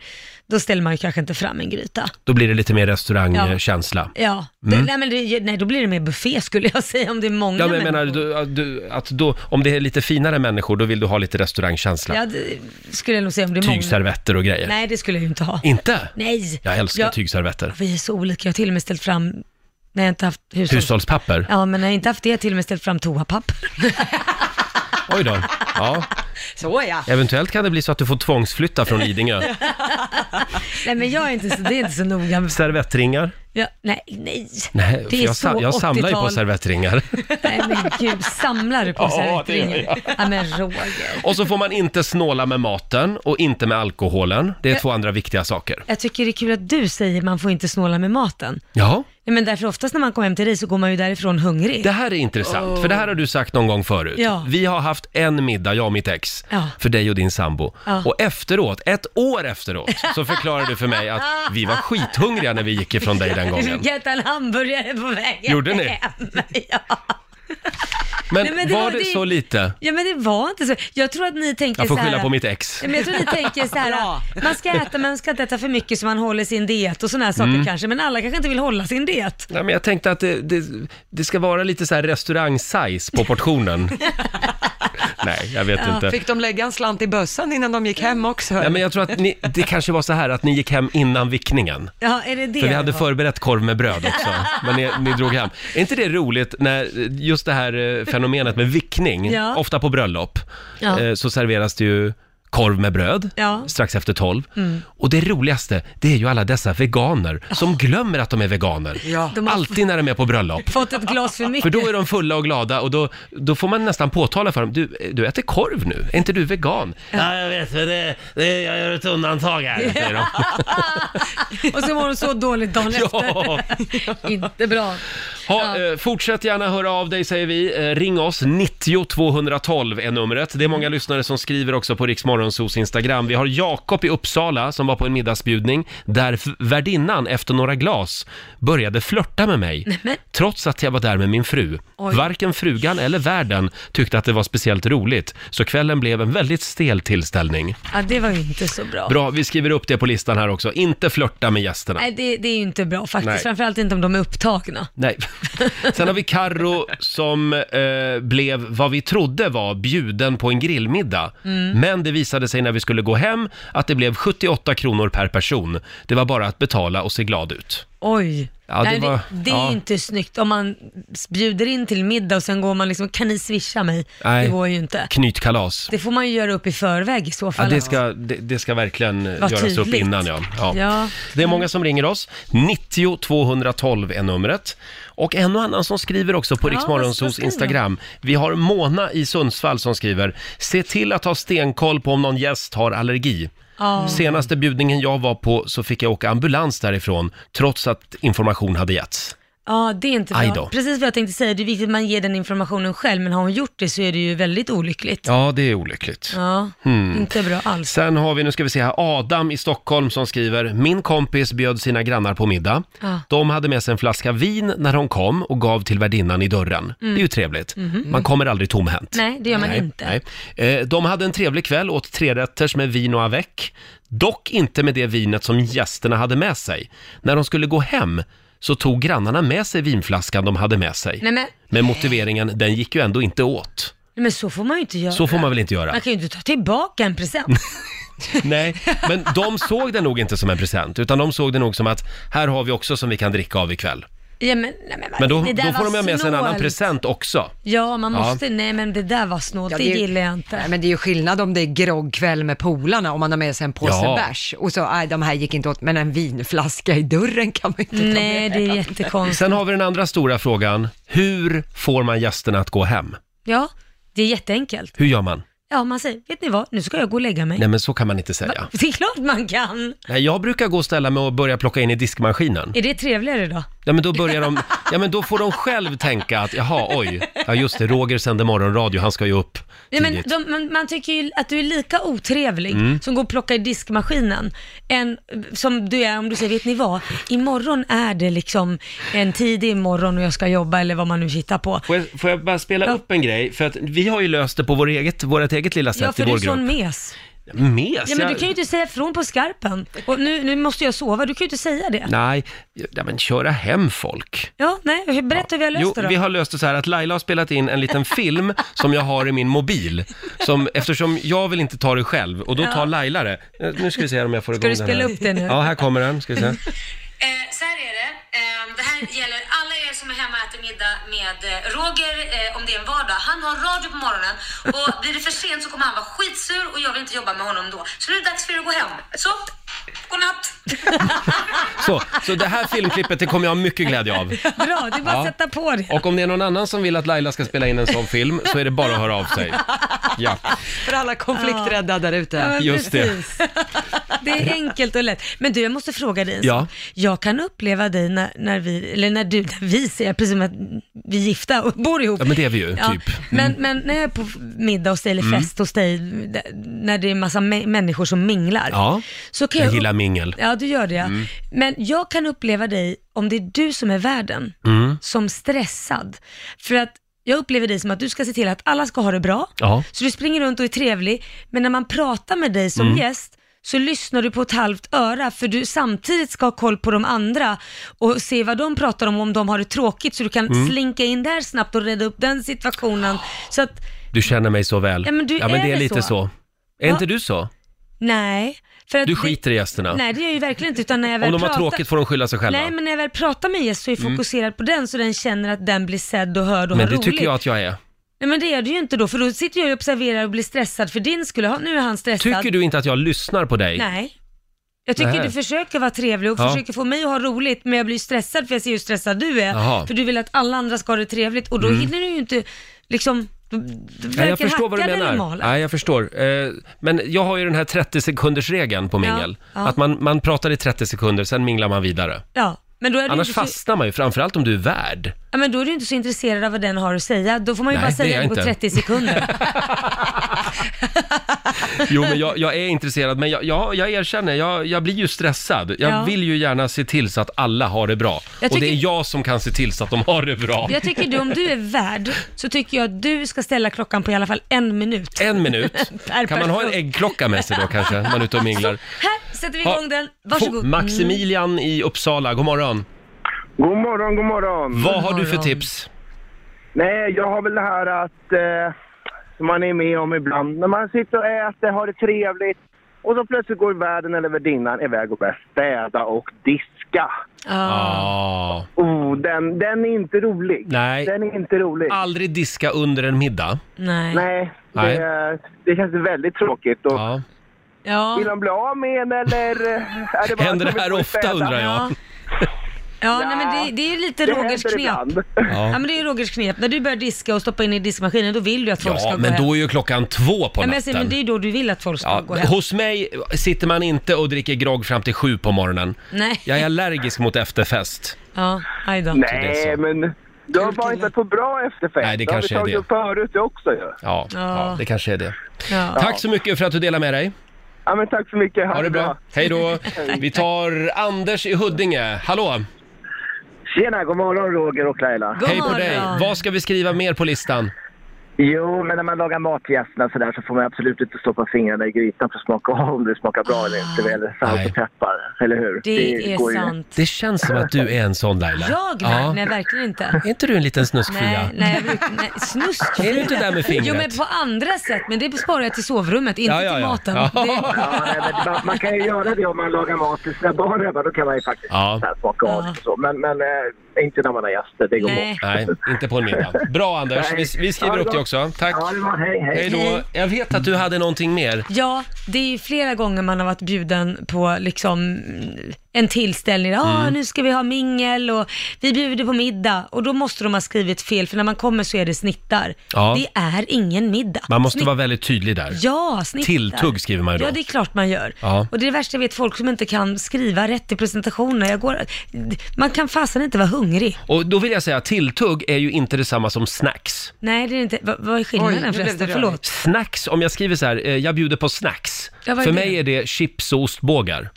då ställer man ju kanske inte fram en gryta. Då blir det lite mer restaurangkänsla. Ja. Ja, det, nej, men det, nej då blir det mer buffé skulle jag säga om det är många Mm. men jag menar, människor. du, att du, att då, om det är lite finare människor, då vill du ha lite restaurangkänsla. Ja, det skulle jag nog säga om det är många. Tygservetter och grejer. Nej, det skulle jag ju inte ha. Inte? Nej. Jag älskar Jag- tygservetter. Vi är så olika. Jag har till och med ställt fram, när jag inte haft hushåll. Hushållspapper? Ja, men när jag inte haft det, jag har till och med ställt fram toapapper. Oj då. Ja. Så ja. Eventuellt kan det bli så att du får tvångsflytta från Lidingö. Nej, men jag är inte så, det är inte så noga. med- Servettringar? Ja, nej, nej. Nej, för det är jag, så sam- jag samlar ju på 80-tal. servettringar. Nej men gud, samlar du på Ja, ja, det gör servettringar? jag. Ja men Roger. Och så får man inte snåla med maten och inte med alkoholen. Det är två andra viktiga saker. Jag tycker det är kul att du säger man får inte snåla med maten. Ja, Nej, men därför oftast när man kommer hem till dig så går man ju därifrån hungrig. det här är intressant, för det här har du sagt någon gång förut. Ja. Vi har haft en middag, jag och mitt ex, Ja. för dig och din sambo. Ja. Och efteråt, ett år efteråt, så förklarade du för mig att vi var skithungriga när vi gick ifrån dig den Jag gången. fick äta en hamburgare på vägen Gjorde ni? hem. Ja. Men, Nej, men det var, var det, det- så lite? ja men det var inte så. Jag tror att ni tänker Jag får så här, skylla på mitt ex. Ja, men jag tror ni tänker så här, Bra. man ska äta men man ska inte äta för mycket så man håller sin diet och sådana här saker Mm. kanske, men alla kanske inte vill hålla sin diet. Nej, men jag tänkte att det, det, det ska vara lite så här restaurang-size på portionen. Nej, jag vet inte. Fick de lägga en slant i bössan innan de gick hem också? Nej, men jag tror att ni, det kanske var så här att ni gick hem innan vickningen. Ja, är det det? För vi det hade var? förberett korv med bröd också, men ni, ni drog hem. Är inte det roligt när eh, just det här eh, fenomenet med vickning, Ja. ofta på bröllop, Ja. eh, så serveras det ju korv med bröd Ja. Mm. strax efter tolv. Och det roligaste, det är ju alla dessa veganer som glömmer att de är veganer. Ja. De har- Alltid när de är på bröllop. Fått ett glas för mycket. För då är de fulla och glada och då, då får man nästan påtala för dem. Du, du äter korv nu, är inte du vegan? Ja, jag vet, men det, det, jag gör ett undantag här, säger de. Och så mår de så dåligt dagen Ja. efter. Inte bra. Ha, eh, fortsätt gärna höra av dig säger vi. Eh, ring oss, 90 212 är numret. Det är många lyssnare som skriver också på Riksmorgonsos Instagram. Vi har Jakob i Uppsala som var på en middagsbjudning där f- värdinnan efter några glas började flörta med mig. men- Trots att jag var där med min fru. Varken frugan eller värden tyckte att det var speciellt roligt. Så kvällen blev en väldigt stel tillställning. Ja, det var ju inte så bra. Bra, vi skriver upp det på listan här också. Inte flörta med gästerna. Nej, det, det är ju inte bra faktiskt. Nej. Framförallt inte om de är upptagna. Nej. Sen har vi Karro som eh, blev vad vi trodde var bjuden på en grillmiddag. Men det visade sig när vi skulle gå hem att det blev 78 kronor per person. Det var bara att betala och se glad ut. Oj. Ja, det Nej, var- det, det är ja. ju inte snyggt om man bjuder in till middag och sen går man liksom, kan ni swisha mig? Nej. Det går ju inte. Knytkalas. Det får man ju göra upp i förväg i så Ja, fall. det, ska, det, det ska verkligen eh, Vad göras upp tydligt. innan. Ja. Ja. Ja. Det är många som ringer oss. 90 212 är numret. Och en och annan som skriver också på Ja, vad Riksmorgonsos skriver de? Instagram. Vi har Mona i Sundsvall som skriver “Se till att ha stenkoll på om någon gäst har allergi”. Ja. Senaste bjudningen jag var på så fick jag åka ambulans därifrån trots att information hade getts. Ja, det är inte Aj bra. då. Precis vad jag tänkte säga, det är viktigt att man ger den informationen själv, men har hon gjort det så är det ju väldigt olyckligt. Ja, Ja, Hmm. det är olyckligt. inte bra alls. Sen har vi, nu ska vi se här, Adam i Stockholm som skriver Min kompis bjöd sina grannar på middag. Ja. De hade med sig en flaska vin när hon kom och gav till värdinnan i dörren. Det är ju trevligt. Man kommer aldrig tomhänt. Mm. Mhm. Nej, det gör man inte. nej. Eh, De hade en trevlig kväll, åt trerätters med vin och avec. Dock inte med det vinet som gästerna hade med sig. När de skulle gå hem så tog grannarna med sig vinflaskan de hade med sig. Nej, men, nej, Med motiveringen, den gick ju ändå inte åt. men så får man ju inte göra. Så får man väl inte göra? Man kan ju inte ta tillbaka en present. Nej, men de såg det nog inte som en present, utan de såg det nog som att här har vi också som vi kan dricka av ikväll. Ja, men, nej, men, Men då, det där då får de var ha med sig en annan snålt. present också. Ja, man Ja. måste, nej men det där var snålt, Ja, det, det är ju- gillar jag inte. Nej, men det är ju skillnad om det är groggkväll med polarna, om man har med sig en påse Ja. bärs och så, nej de här gick inte åt, men en vinflaska i dörren kan man ju inte ta nej, med. det är jättekonstigt. Sen har vi den andra stora frågan. Hur får man gästerna att gå hem? Ja, det är jätteenkelt. Hur gör man? Ja, man säger, vet ni vad, nu ska jag gå och lägga mig. Nej, men så kan man inte säga. Det är klart man kan. Nej, jag brukar gå och ställa mig och börja plocka in i diskmaskinen. Är det trevligare då? Ja, men då börjar de... Ja, men då får de själv tänka att jaha, oj. Ja, just det, Roger sänder morgonradio, han ska ju upp Nej, men tidigt. Mm. de, man, man tycker ju att du är lika otrevlig som går och plockar i diskmaskinen, än, som du är om du säger, vet ni vad, imorgon är det liksom en tidig morgon och jag ska jobba eller vad man nu hittar på. Får jag, får jag bara spela Ja. upp en grej? För att vi har ju löst det på vårt eget, vårt eget lilla Ja, sätt för i du är vår sån grupp. mes. Mes? Ja, men du jag- kan ju inte säga ifrån på skarpen. Och nu, nu måste jag sova, du kan ju inte säga det. Nej, ja, men köra hem folk. Ja, nej, berätta hur vi har löst Jo, det då. vi har löst det så här att Laila har spelat in en liten film som jag har i min mobil. Som, eftersom jag vill inte ta det själv och då tar Laila det. Eh, Nu ska vi se om jag får Ska igång du spela den här. upp det nu? Ja, här kommer den. Ska vi se. Eh, så här är det. Eh, det här gäller alla er som är hemma och äter middag med eh, Roger, eh, om det är en vardag. Han har radio på morgonen och blir det för sent så kommer han vara skitsur och jag vill inte jobba med honom då. Så nu är det dags för er att gå hem. Så, godnatt! Så, så det här filmklippet det kommer jag ha mycket glädje av. Bra, det är bara Ja. att sätta på det. Och om det är någon annan som vill att Laila ska spela in en sån film så är det bara att höra av sig. Ja, För alla konflikträdda där ute. men just det. precis. Det är enkelt och lätt. Men du, jag måste fråga dig en Ja. sak. Jag kan uppleva dig när, när vi, eller när du, när vi ser, precis som att vi är gifta och bor ihop. Ja, men det är vi ju, typ. Mm. Men, men när jag är på middag hos dig eller fest hos dig, d- när det är massa mä- människor som minglar. Ja, så kan jag jag, gillar mingel. Ja, du gör det ja. Mm. Men jag kan uppleva dig, om det är du som är värden, Mm. som stressad. För att jag upplever dig som att du ska se till att alla ska ha det bra, Ja. så du springer runt och är trevlig, men när man pratar med dig Mm. som gäst så lyssnar du på ett halvt öra för du samtidigt ska ha koll på de andra och se vad de pratar om om de har det tråkigt så du kan Mm. slinka in där snabbt och reda upp den situationen. Så att, Du känner mig så väl. Ja, men du är det är väl lite så. så. Är Ja. inte du så? nej. För att Du det- skiter i gästerna. Nej, det gör jag ju verkligen inte. Utan när jag väl Om de har pratar- tråkigt får de skylla sig själva. Mm. Nej, men när jag väl pratar med gäst så är jag fokuserad på den så den känner att den blir sedd och hörd och Men har det roligt. tycker jag att jag är. Nej, men det gör du ju inte då, för då sitter jag och observerar och blir stressad för din skull. Ja, Nu är han stressad. Tycker du inte att jag lyssnar på dig? Nej. Jag tycker Nej. du försöker vara trevlig och Ja. försöker få mig att ha roligt, men jag blir stressad för jag ser hur stressad du är. Jaha. För du vill att alla andra ska ha det trevligt och då hinner du ju inte liksom... Du, du Nej, jag verkar förstår vad du hacka den i menar. malen. Nej, jag förstår. Eh, Men jag har ju den här 30 sekunders regeln på mingel. ja. Att man, man pratar i 30 sekunder, sen minglar man vidare. Ja, men då är du Annars inte så- fastnar man ju, framförallt om du är värd. Ja, men då är du inte så intresserad av vad den har att säga. Då får man ju Nej, bara det är säga jag det på inte. 30 sekunder. Jo, men jag, jag är intresserad, men jag, jag, jag erkänner, jag, jag blir ju stressad. Jag Ja. vill ju gärna se till så att alla har det bra. Jag Och det är tycker- jag som kan se till så att de har det bra. Jag tycker du, om du är värd, så tycker jag att du ska ställa klockan på i alla fall en minut. En minut. Per Kan man ha en person. äggklocka med sig då kanske, när man är ute och minglar? Här sätter vi Ja. igång den. Varsågod. Få- Maximilian i Uppsala, god morgon. God morgon, god morgon. Vad har du för typ- morgon. tips? Nej, jag har väl det här att eh, som man är med om ibland. När man sitter och äter, har det trevligt och så plötsligt går värden eller värdinnan iväg och börjar städa och diska. Ja. Ah. Oh, den, den är inte rolig. Nej. Den är inte rolig. Aldrig diska under en middag. Nej. Nej, Nej. Det, det känns väldigt tråkigt. Och Ja. Ja. Vill de bli av med en eller eh, är det bara Händer att de det här vill ofta städa? undrar jag? Ja, ja nej, men det, det är lite Det Rogers händer knep. ibland. Ja. men det är ju Rogers knep. När du börjar diska och stoppa in i diskmaskinen, då vill du att folk ska Ja, gå men hem. då är ju klockan två på Nej, men, jag säger, men natten. det är ju då du vill att folk ska Ja, gå hem. hos mig sitter man inte och dricker grogg fram till sju på morgonen. Nej. Jag är allergisk mot efterfest. Ja, aj då. det är Nej, så. men de har bara inte på bra efterfest. Nej, det kanske är har vi det. tagit upp förut också ju. Ja, ja. Ja. det kanske är det. Ja. Tack så mycket för att du delar med dig. Ja, men tack så mycket. Ha det bra. Hej då. Vi tar Anders i Huddinge. Hallå! Tjena, god morgon Roger och Laila. God Hej på morgon. dig. Vad ska vi skriva mer på listan? Jo, men när man lagar mat till gästerna sådär så får man absolut inte stoppa fingrarna i grytan för att smaka av om det smakar bra eller inte. Eller Nej. salt och peppar, eller hur? Det går är ju- sant. Det känns som att du är en sån Laila. Jag? Ja. Nej, verkligen inte. Är inte du en liten snuskfia? Nej, nej, jag brukar- nej, snusk. Är du inte där med fingret? Jo, men på andra sätt. Men det sparar jag till sovrummet, inte Ja, ja, till ja. maten. Ja. Det, Ja, nej, men man, man kan ju göra det om man lagar mat till sina barn hemma. Då kan man ju faktiskt Ja. så här smaka av Ja. och så. Men, men eh, inte när man har gäster, det går Nej. bort. Nej, inte på en middag. Bra Anders, vi, vi skriver Ja, upp det bra. också. Tack. Ja, det var hej, hej. Hej då. Jag vet att du hade någonting mer. ja, det är ju flera gånger man har varit bjuden på liksom en tillställning. Ja, Mm. nu ska vi ha mingel och vi bjuder på middag. Och då måste de ha skrivit fel, för när man kommer så är det snittar. Ja. Det är ingen middag. Man måste Snitt- vara väldigt tydlig där. Ja, snittar. Tilltugg skriver man ju då. Ja, det är klart man gör. Ja. Och det är det värsta jag vet, folk som inte kan skriva rätt i presentationer. Jag går, man kan fasen inte vara hungrig. Och då vill jag säga, tilltugg är ju inte detsamma som snacks. Nej, det är inte. Vad, vad är Oj, nu skillnaden blev det förresten? rörigt. Förlåt. Snacks, om jag skriver så här, eh, jag bjuder på snacks. Ja, vad är För det? mig är det chips och ostbågar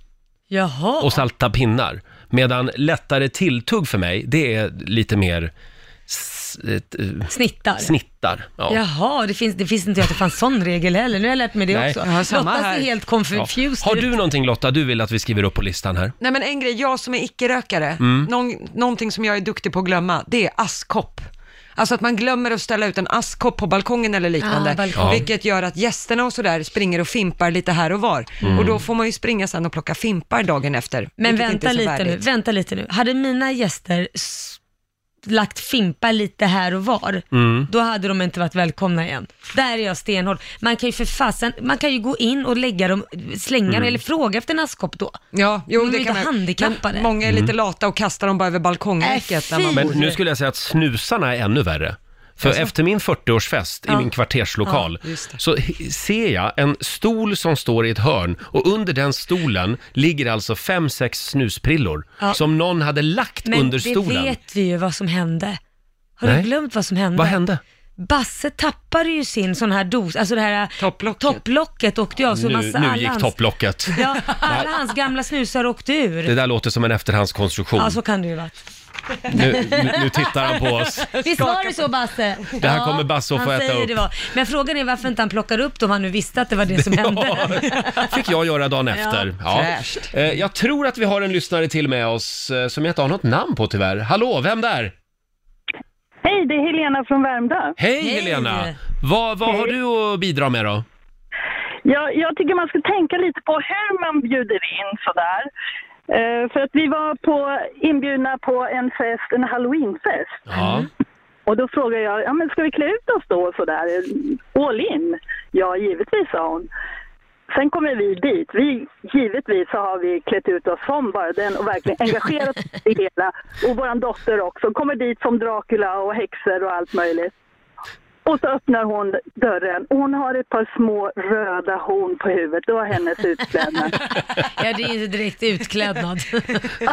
Jaha. och salta pinnar. Medan lättare tilltugg för mig, det är lite mer s- ett, eh, Snittar. snittar. Ja. Jaha, det finns, det finns inte att det fanns sån regel heller. Nu har jag lärt mig det Nej. också. Ja, samma Lotta ser här. helt Ja. confused Har ut. du någonting Lotta, du vill att vi skriver upp på listan här? Nej men en grej, jag som är icke-rökare, Mm. någon, någonting som jag är duktig på att glömma, det är askkopp. Alltså att man glömmer att ställa ut en askkopp på balkongen eller liknande, Ah, balkong. Ja. vilket gör att gästerna och sådär springer och fimpar lite här och var. Mm. Och då får man ju springa sen och plocka fimpar dagen efter. Men vilket inte vänta är så lite nu, värdigt. vänta lite nu. Hade mina gäster s- lagt fimpar lite här och var, Mm. då hade de inte varit välkomna igen. Där är jag stenhård. Man kan ju för fasen, man kan ju gå in och lägga dem, slänga Mm. dem eller fråga efter en askkopp då. Ja, jo, De är det lite kan man. handikappade. Men Många är Mm. lite lata och kastar dem bara över balkongräcket. Äh, när man fy. Men bor. nu skulle jag säga att snusarna är ännu värre. För efter min 40-årsfest i min kvarterslokal Ja, just det. så h- ser jag en stol som står i ett hörn och under den stolen ligger alltså fem, sex snusprillor Ja. som någon hade lagt Men under det stolen. vet vi ju vad som hände. Har Nej. du glömt vad som hände? Vad hände? Basse tappade ju sin sån här dos, alltså det här Topplocket. topplocket åkte jag så Nu, massa alla nu gick hans- topplocket. Ja, alla hans gamla snusar åkte Det ur. där låter som en efterhandskonstruktion. Ja, så kan det ju vara. Nu, nu, nu tittar han på oss. Visst var det så Basse? Det här kommer Basse att få han äta säger upp. Det var. Men frågan är varför inte han plockade upp dem, om han nu visste att det var det som hände. fick jag göra dagen efter. Ja. fräscht. Eh, Jag tror att vi har en lyssnare till med oss eh, som jag inte har något namn på tyvärr. Hallå, vem där? Hej, det är Helena från Värmdö. Hej, Hej. Helena! Vad, vad har du att bidra med då? Jag, jag tycker man ska tänka lite på hur man bjuder in sådär. Eh, för att vi var på, inbjudna på en fest, en halloweenfest. Ja. Och då frågade jag, ja men ska vi klä ut oss då sådär? All in? Ja, givetvis sa hon. Sen kommer vi dit. Vi, givetvis så har vi klätt ut oss som bara den och verkligen engagerat oss i det hela. Och vår dotter också. Kommer dit som Dracula och häxor och allt möjligt. Och så öppnar hon dörren. Hon har ett par små röda horn på huvudet. Det var hennes utklädnad. Ja, det är ju inte direkt utklädnad.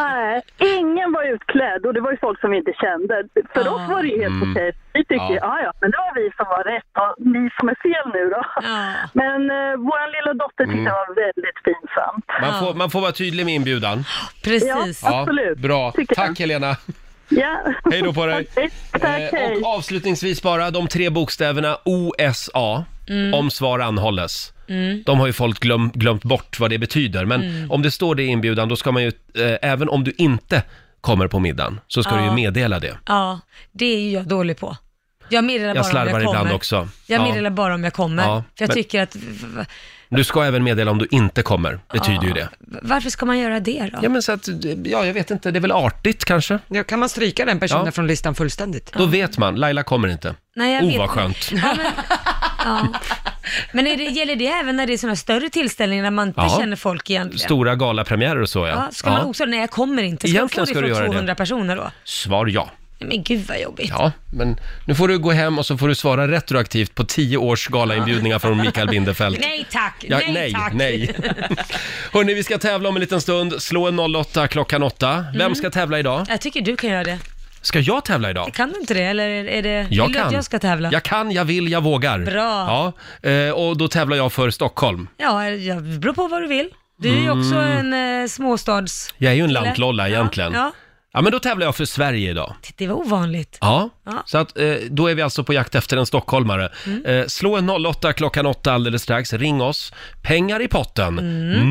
Nej, Eh, ingen var utklädd och det var ju folk som vi inte kände. För Ah. Ja. oss var det ju helt okej. Vi tyckte Mm. Ja. ja. ja, men det var vi som var rätt och ni som är fel nu då. Ja. Men eh, vår lilla dotter Mm. tyckte det var väldigt pinsamt. Man, får, man får vara tydlig med inbjudan. Precis. Ja. Absolut. Bra. Tycker jag. Tack Helena. Ja. Hej då på dig. Okej, Tack, Eh, hej. Och avslutningsvis bara de tre bokstäverna OSA, Mm. om svar anhålles. De har ju folk glöm, glömt bort vad det betyder, men Mm. om det står det i inbjudan, då ska man ju, eh, även om du inte kommer på middagen, så ska du ju Ja. meddela det. Ja, det är ju jag dålig på. Jag Jag meddelar bara om jag slarvar kommer. ibland också. Jag Ja. meddelar bara om jag kommer. Ja, för jag men- tycker att, Du ska även meddela om du inte kommer, betyder Ah. ju det. varför ska man göra det då? Ja, men så att, ja, jag vet inte, det är väl artigt kanske? Ja, kan man stryka den personen Ja. från listan fullständigt? Då vet man, Laila kommer inte. Nej, jag oh, vet vad inte. skönt. Ja, men, ja. men är det, gäller det även när det är sådana större tillställningar när man inte Ja. känner folk egentligen? Stora galapremiärer och så ja. Ja, ska man också, nej jag kommer inte. Ska Egentligen jag ska få du det göra det. från 200 personer då? Svar ja. Nej, Men gud vad jobbigt. Ja, men nu får du gå hem och så får du svara retroaktivt på tio års galainbjudningar från Mikael Bindefeldt. Nej tack, Ja, nej, tack. nej. Hörni, vi ska tävla om en liten stund. Slå en 08 klockan 8. Vem Mm. ska tävla idag? Jag tycker du kan göra det. Ska jag tävla idag? Kan du inte det? Eller är- är det, Jag vill du kan. att jag ska tävla? Jag kan, jag vill, jag vågar. Bra. Ja, eh, och då tävlar jag för Stockholm. Ja, jag det beror på vad du vill. Du är ju Mm. också en eh, småstads... Jag är ju en Eller? lantlolla Ja, egentligen. ja. ja, men då tävlar jag för Sverige idag. Det var ovanligt. Ja, Ja. så att, eh, då är vi alltså på jakt efter en stockholmare. Eh, slå en 08 klockan 8 alldeles strax. Ring oss. Pengar i potten.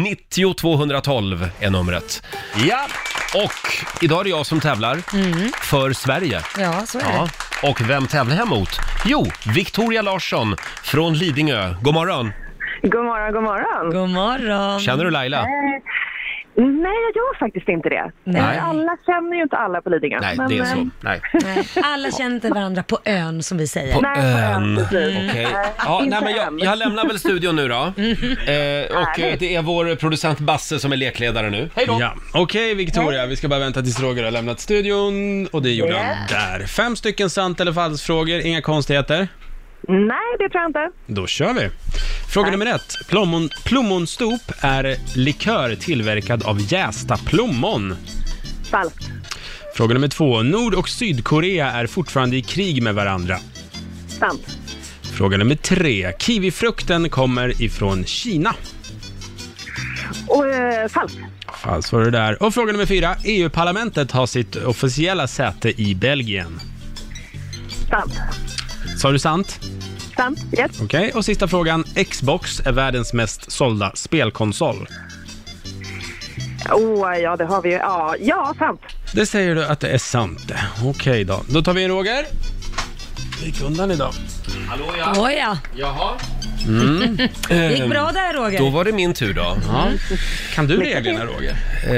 90 212 är numret. Mm. Ja, och idag är det jag som tävlar för Sverige. Ja, så är Ja. det. Och vem tävlar jag mot? Jo, Victoria Larsson från Lidingö. God morgon! God morgon, god morgon. God morgon. Känner du Laila? Nej, jag gör faktiskt inte det. Nej. Alla känner ju inte alla på Lidingö. Nej, det är så. Nej. Nej, alla känner inte varandra på ön som vi säger. På Nej, på ön. ön, precis. Okej. Nej, Ja, inte nej, men jag, än. jag lämnar väl studion nu då. Eh, och eh, det är vår producent Basse som är lekledare nu. Hej då! Ja. Okej Victoria, vi ska bara vänta tills Roger har lämnat studion och det gjorde han där. Fem stycken sant eller falskt frågor, inga konstigheter. Nej, det tror jag inte. Då kör vi. Fråga nummer ett. Plommon, plommonstop är likör tillverkad av jästa plommon. Falskt. Fråga nummer två. Nord och Sydkorea är fortfarande i krig med varandra. Sant. Fråga nummer tre. Kiwifrukten kommer ifrån Kina. Och, eh, falskt. Falskt Alltså, var det där. Och fråga nummer fyra. EU-parlamentet har sitt officiella säte i Belgien. Sant. Sa du sant? Sant. Yes. Okej, och sista frågan. Xbox är världens mest sålda spelkonsol. Oh, ja, det har vi ju. Ja, ja sant. Det säger du att det är sant det. Okej då. Då tar vi in Roger. Det gick undan idag. Hallå Åja, Jaha. Mm. Det gick bra där Roger. Då var det min tur då. Kan du reglerna Roger? Eh,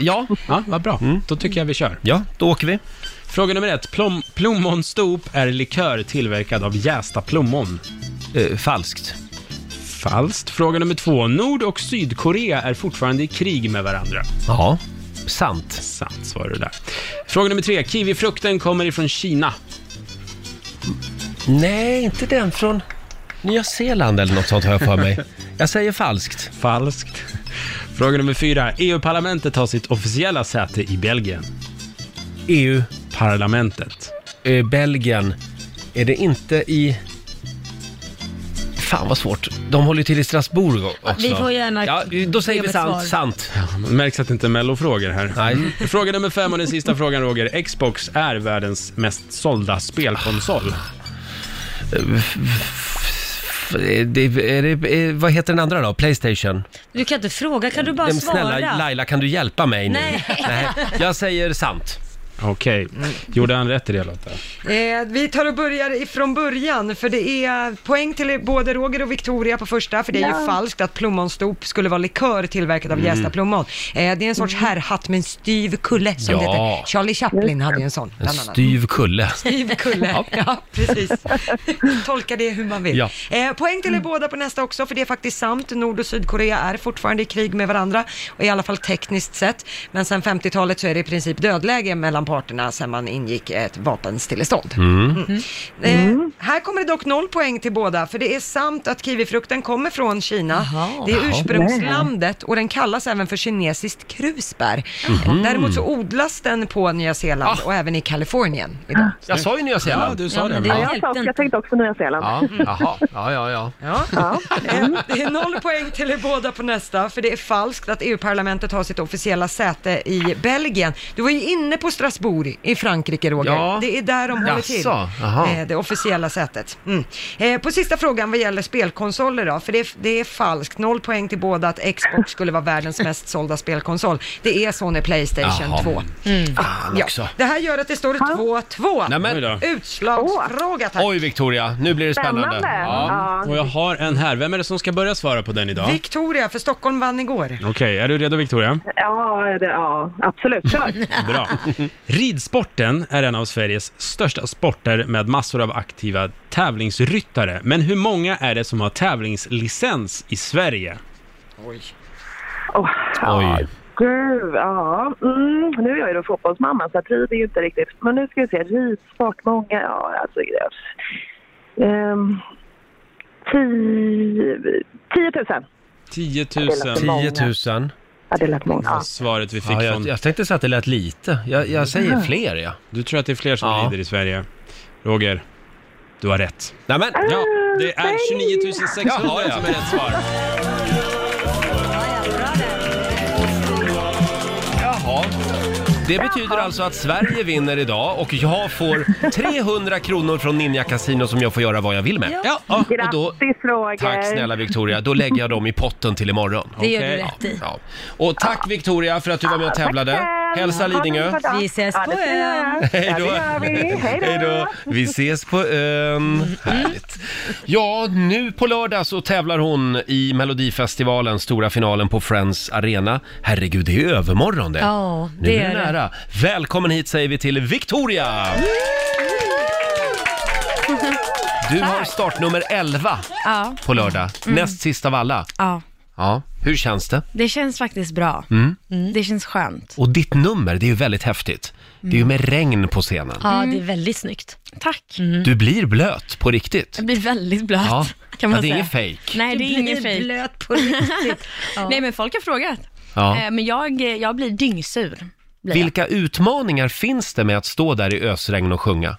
ja. Mm. Ja, vad bra. Då tycker jag vi kör. ja, då åker vi. Fråga nummer ett. Plom, plommonstop är likör tillverkad av jästa plommon. Eh, falskt. Falskt. Fråga nummer två. Nord och Sydkorea är fortfarande i krig med varandra. Ja, sant. Sant svar är det där. Fråga nummer tre. Kiwifrukten kommer ifrån Kina. Nej, inte den från Nya Zeeland eller något sånt har jag för mig. Jag säger falskt. Falskt. Fråga nummer fyra. EU-parlamentet har sitt officiella säte i Belgien. E EU, Parlamentet. eh, Belgien. Är det inte i... Fan vad svårt. De håller ju till i Strasbourg också. Vi får gärna Ja, då säger vi ett sant. svar. Sant. Ja, men det märks att det inte är mellofrågor här. Mm. Nej. Fråga nummer fem och den sista frågan Roger. Xbox är världens mest sålda spelkonsol. Ah. Eh, F- eh, Det, är det, eh, vad heter den andra då? Playstation? Du kan inte fråga, kan du bara Men svara? snälla Laila, kan du hjälpa mig nu? Nej. Jag säger sant. Okej, gjorde han rätt i det Lotta? Eh, vi tar och börjar ifrån början, för det är poäng till både Roger och Victoria på första, för det är ju falskt att plommonstop skulle vara likör tillverkad av Mm. jästa plommon. Eh, det är en sorts herrhatt med en styv kulle, som det Ja. heter. Charlie Chaplin hade ju en sån, En bland annat. styv kulle. Styv kulle. Ja. precis. Tolka det hur man vill. Ja. Eh, poäng till er båda på nästa också, för det är faktiskt sant. Nord och Sydkorea är fortfarande i krig med varandra, och i alla fall tekniskt sett. Men sen 50-talet så är det i princip dödläge mellan parterna sen man ingick ett vapenstillestånd. Mm. Eh, här kommer det dock noll poäng till båda, för det är sant att kiwifrukten kommer från Kina. det är ursprungslandet och den kallas även för kinesiskt krusbär. Däremot så odlas den på Nya Zeeland och även i Kalifornien idag. Jag sa ju Nya Ja, Zeeland. du Ja, sa men det. det Ja. Jag, sa, hjälpte jag inte. tänkte också Nya Zeeland. Ja, jaha. Ja, ja, ja. Ja. Ja. Det är noll poäng till er båda på nästa, för det är falskt att EU-parlamentet har sitt officiella säte i Belgien. Du var ju inne på Strasbourg i Frankrike, Roger. Ja. Det är där de håller till. Jaså, aha. Eh, Det officiella sätet. Mm. Eh, På sista frågan vad gäller spelkonsoler då, för det är, det är falskt. Noll poäng till båda att Xbox skulle vara världens mest sålda spelkonsol. Det är så när Playstation Jaha. 2. Fan också. Det här gör att det står 2-2. Nämen. Oj då. Utslagsfråga tack. Oj, Victoria. Nu blir det spännande. Spännande. Ja. Och jag har en här. Vem är det som ska börja svara på den idag? Okej, Victoria, för Stockholm vann igår. är du redo Victoria? Ja, det, ja absolut. Kör. Bra. Ridsporten är en av Sveriges största sporter med massor av aktiva tävlingsryttare. Men hur många är det som har tävlingslicens i Sverige? Oh, ja, Oj. gud, ja. Mm, nu är jag ju då fotbollsmamma så att rid är ju inte riktigt... Men nu ska vi se, ridsport, många, ja alltså... Um, 10 000. 10 Det 000. är lite 10 000. Ja, det lät många. var Ja. svaret vi fick Ja, jag, från... jag tänkte så att det lät lite. Jag, jag säger fler, ja. Du tror att det är fler som Ja. rider i Sverige? Roger, du har rätt. Nej, men, Ja, det är 29 600 Jaha, ja. som är rätt svar. jaha. Det betyder alltså att Sverige vinner idag och jag får 300 kronor från Ninja Casino som jag får göra vad jag vill med. Ja, ja. Och då, Grattis Roger! tack snälla Victoria, då lägger jag dem i potten till imorgon. Det gör du Okej, rätt i. Ja. Och tack Victoria för att du var med och tävlade. Tack själv. Hälsa Ha det Lidingö. så bra. Vi ses Ja, på det ska vi ön. göra. Hej då. Ja, det gör vi. Hej Hej då! då! Vi ses på ön. Härligt. Ja, nu på lördag så tävlar hon i Melodifestivalen, stora finalen på Friends Arena. Herregud, det är ju övermorgon det. Ja, nu det är det är det. nära. Välkommen hit säger vi till Victoria! Du har startnummer 11 Ja, Mm. på lördag, näst sist av alla. ja. Ja, hur känns det? Mm. Det känns faktiskt bra. Mm. Det känns skönt. Mm. Och ditt nummer, det är ju väldigt häftigt. Det är ju med regn på scenen. Ja, det är väldigt snyggt. Tack. Du blir blöt på riktigt. Jag blir väldigt Mm. blöt, Ja. kan man ja, det är säga. ingen fejk. Nej, det är ingen blir fejk. blöt på riktigt. Ja. Nej, men folk har frågat. Ja. Eh, Men jag, eh, jag blir dyngsur. Blir jag. Vilka utmaningar finns det med att stå där i ösregn och sjunga?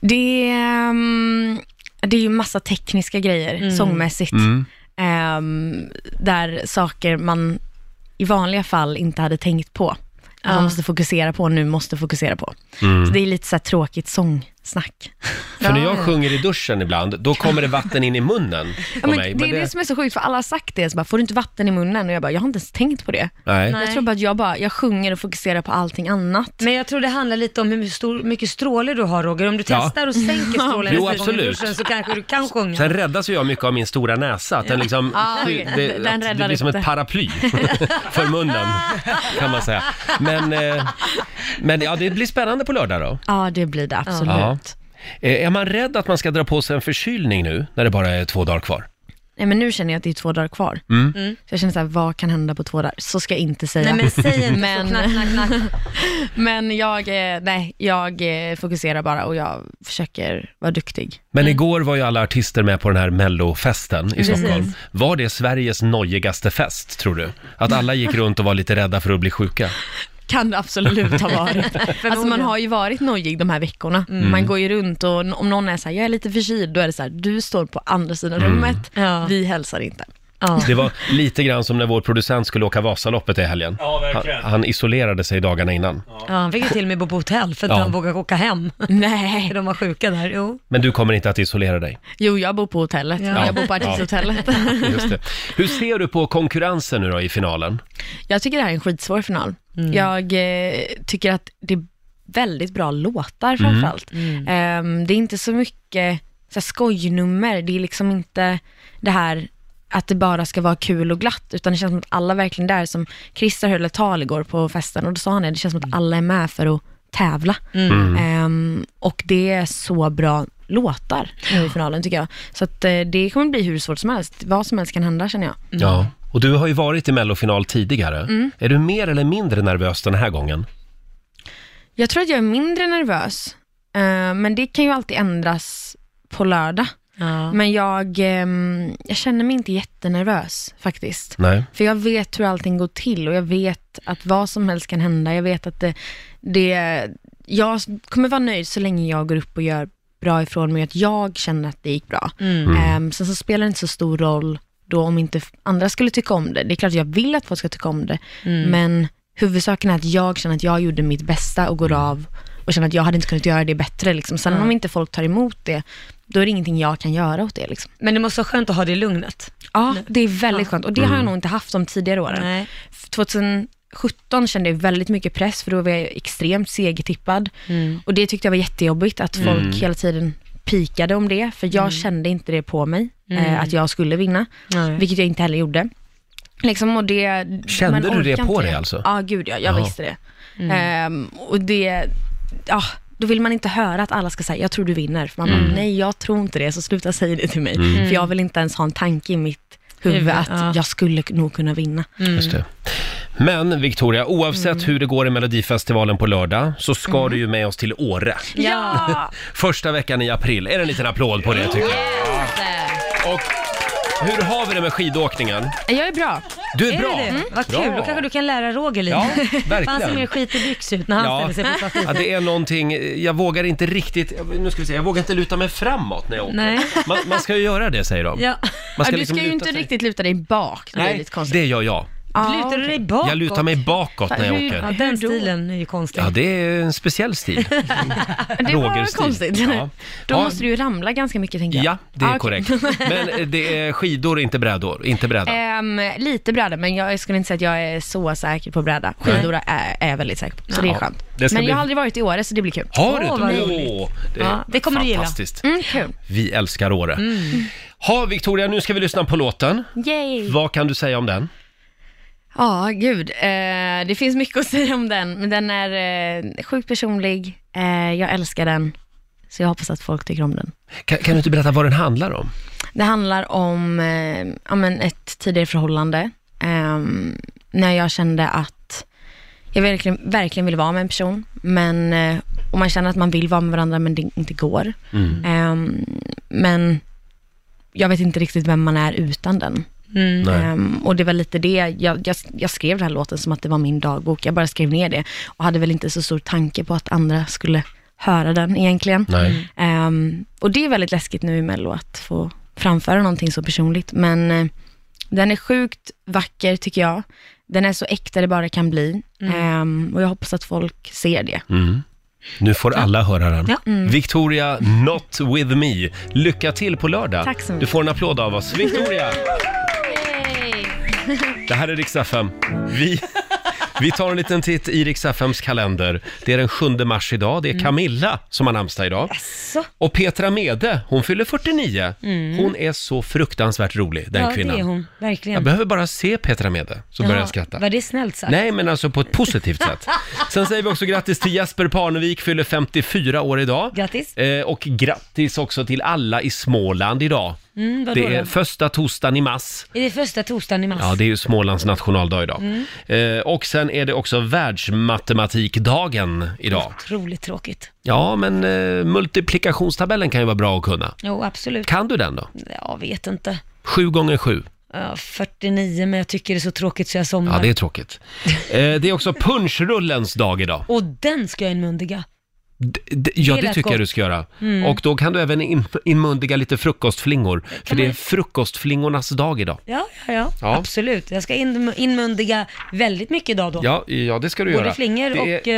Det, ehm, det är ju massa tekniska grejer, Mm. sångmässigt, ehm, där saker man i vanliga fall inte hade tänkt på. Man måste fokusera på, nu måste fokusera på. Så det är lite så här tråkigt sång, snack. För när jag sjunger i duschen ibland, då kommer det vatten in i munnen Ja, på men mig. det är det... som är så sjukt, för alla har sagt det, så bara, får du inte vatten i munnen? Och jag bara, jag har inte ens tänkt på det. Nej. Jag tror bara att jag, bara, jag sjunger och fokuserar på allting annat. Men jag tror det handlar lite om hur stor, mycket stråle du har Roger. Om du Ja. testar och sänker strålen Jo, nästa gång i absolut. duschen så kanske du kan sjunga. Sen räddas ju jag mycket av min stora näsa, att den liksom, Ah, okej. det, Den att det räddar blir som inte. ett paraply för munnen, kan man säga. Men, eh, men ja, det blir spännande på lördag då. Ja, det blir det absolut. Ja. Eh, Är man rädd att man ska dra på sig en förkylning nu, när det bara är två dagar kvar? Nej, men nu känner jag att det är två dagar kvar. Mm. Så jag känner så här, vad kan hända på två dagar? Så ska jag inte säga. Nej, men säg inte så. men, Knack, knack, men jag, eh, nej, jag eh, fokuserar bara och jag försöker vara duktig. Men igår var ju alla artister med på den här mellofesten i Mm. Precis. Stockholm. Var det Sveriges nojigaste fest, tror du? Att alla gick runt och var lite rädda för att bli sjuka? Kan det absolut ha varit. alltså man har ju varit nojig de här veckorna. Mm. Man går ju runt och n- om någon är så här, jag är lite förkyld, då är det så här, du står på andra sidan Mm. rummet, vi hälsar inte. Det var lite grann som när vår producent skulle åka Vasaloppet i helgen. Ja, han, verkligen. han isolerade sig dagarna innan. Ja, han fick ju till och med bo på hotell för att Ja. han vågade åka hem. Nej. För de var sjuka där. Jo. Men du kommer inte att isolera dig. Jo, jag bor på hotellet, Ja. jag bor på Ja. artisthotellet. Just det. Hur ser du på konkurrensen nu då i finalen? Jag tycker det här är en skitsvår final. Jag eh, tycker att det är väldigt bra låtar Mm. framförallt. Ehm, det är inte så mycket så här, skojnummer, det är liksom inte det här att det bara ska vara kul och glatt, utan det känns som att alla verkligen där, som Christer höll ett tal igår på festen och då sa han det, det känns som att alla är med för att tävla. Mm. Ehm, och det är så bra låtar nu i finalen tycker jag. Så att, eh, det kommer bli hur svårt som helst, vad som helst kan hända känner jag. Ja. Och du har ju varit i mellofinal tidigare. Mm. Är du mer eller mindre nervös den här gången? Jag tror att jag är mindre nervös, eh, men det kan ju alltid ändras på lördag. Men jag, ehm, jag känner mig inte jättenervös faktiskt. Nej. För jag vet hur allting går till och jag vet att vad som helst kan hända. Jag vet att det, det, jag kommer vara nöjd så länge jag går upp och gör bra ifrån mig, att jag känner att det gick bra. Mm. Ehm, sen så spelar det inte så stor roll då om inte f- andra skulle tycka om det. Det är klart jag vill att folk ska tycka om det, Mm. men huvudsaken är att jag känner att jag gjorde mitt bästa och går av och känner att jag hade inte kunnat göra det bättre. Liksom. Sen Mm. om inte folk tar emot det, då är det ingenting jag kan göra åt det. Liksom. Men det måste vara skönt att ha det i lugnet. Ja, det är väldigt skönt. Och det har jag Mm. nog inte haft de tidigare åren. Nej. 2017 kände jag väldigt mycket press, för då var jag extremt segertippad. Mm. Och det tyckte jag var jättejobbigt, att folk Mm. hela tiden pikade om det, för jag Mm. kände inte det på mig, Mm. eh, att jag skulle vinna, Nej. vilket jag inte heller gjorde. Liksom, och det, Kände man du det orkar på inte dig alltså? Ja, gud ja, jag Ja. visste det. Mm. Ehm, och det, ja, då vill man inte höra att alla ska säga, jag tror du vinner, för man Mm. bara, nej jag tror inte det, så sluta säga det till mig, Mm. för jag vill inte ens ha en tanke i mitt huvud Huvud, att ja. jag skulle nog kunna vinna. Just det. Men Victoria, oavsett Mm. hur det går i Melodifestivalen på lördag så ska du ju med oss till Åre. Ja! Första veckan i april. Är det en liten applåd på det tycker jag? Och hur har vi det med skidåkningen? Jag är bra. Du är det bra. det? Mm. Vad kul, Bra. då kanske du kan lära Roger lite. Ja, För han verkligen. ser mer skit i byx ut när han Ja. ställer sig på stativ. Ja, det är någonting, jag vågar inte riktigt, nu ska vi se, jag vågar inte luta mig framåt när jag åker. Nej. Man, man ska ju göra det säger de. Man ska du liksom ska luta ju inte sig. riktigt luta dig bak. Det är Nej, lite konstigt. det gör jag. Lutar du dig bakåt? Jag lutar mig bakåt när jag Hur- åker. Ja, den stilen är ju konstig. Ja, det är en speciell stil. Det var väl Rogerstil. konstigt. Ja. Då Ja. måste du ju ramla ganska mycket tänker jag. Ja, det är Ah, okej. korrekt. Men eh, det är skidor, inte brädor. Inte bräda. Ehm, lite bräda, men jag skulle inte säga att jag är så säker på bräda. Skidor är, är jag väldigt säker på, så det är Ja. skönt. Det ska men bli- jag har aldrig varit i Åre, så det blir kul. Har du vad inte? roligt. det är Ja, det kommer du gilla. fantastiskt. Mm, kul. Vi älskar Åre. Ha, Victoria, nu ska vi lyssna på låten. Yay! Vad kan du säga om den? Ja, gud. Eh, det finns mycket att säga om den, men den är eh, sjukt personlig. Eh, jag älskar den, så jag hoppas att folk tycker om den. Kan, kan du inte berätta vad den handlar om? Det handlar om eh, ja, men ett tidigare förhållande, ehm, när jag kände att jag verkligen, verkligen ville vara med en person, men, eh, och man känner att man vill vara med varandra, men det inte går. Mm. Ehm, men jag vet inte riktigt vem man är utan den. Mm. Nej. Ehm, och det var lite det, jag, jag, jag skrev den här låten som att det var min dagbok, jag bara skrev ner det och hade väl inte så stor tanke på att andra skulle höra den egentligen. Nej. Ehm, och det är väldigt läskigt nu i Mello att få framföra någonting så personligt, men eh, den är sjukt vacker tycker jag. Den är så äkta det bara kan bli Mm. Ehm, och jag hoppas att folk ser det. Nu får alla höra den. Ja. Mm. Victoria, Not With Me. Lycka till på lördag. Tack så mycket. Du får en applåd av oss. Victoria! Det här är Rix FM. Vi, vi tar en liten titt i Rix FMs kalender. Det är den 7 mars idag. Det är Mm. Camilla som har namnsdag idag. Och Petra Mede, hon fyller 49. Mm. Hon är så fruktansvärt rolig, den ja, kvinnan. det är hon. Verkligen. Jag behöver bara se Petra Mede, så börjar jag skratta. Var det snällt sagt? Nej, men alltså på ett positivt sätt. Sen säger vi också grattis till Jesper Parnevik, fyller 54 år idag. Grattis. Eh, och grattis också till alla i Småland idag. Mm, vadå det är då? första torsdagen i mass. Är det första torsdagen i mars? Ja, det är ju Smålands nationaldag idag. Mm. Eh, och sen är det också världsmatematikdagen idag. Otroligt tråkigt. Ja, men eh, multiplikationstabellen kan ju vara bra att kunna. Jo, absolut. Kan du den då? Jag vet inte. Sju gånger sju. Ja, 49, men jag tycker det är så tråkigt så jag somnar. Ja, det är tråkigt. Eh, det är också punschrullens dag idag. Och den ska jag inmundiga. D- Ja, Det det lät tycker jag gott. du ska göra. Mm. Och då kan du även in- inmundiga lite frukostflingor. För det är frukostflingornas dag idag. Ja, ja, ja, Ja. Absolut. Jag ska in, inmundiga väldigt mycket idag då. Ja, ja det ska du Både göra. flingor Det är och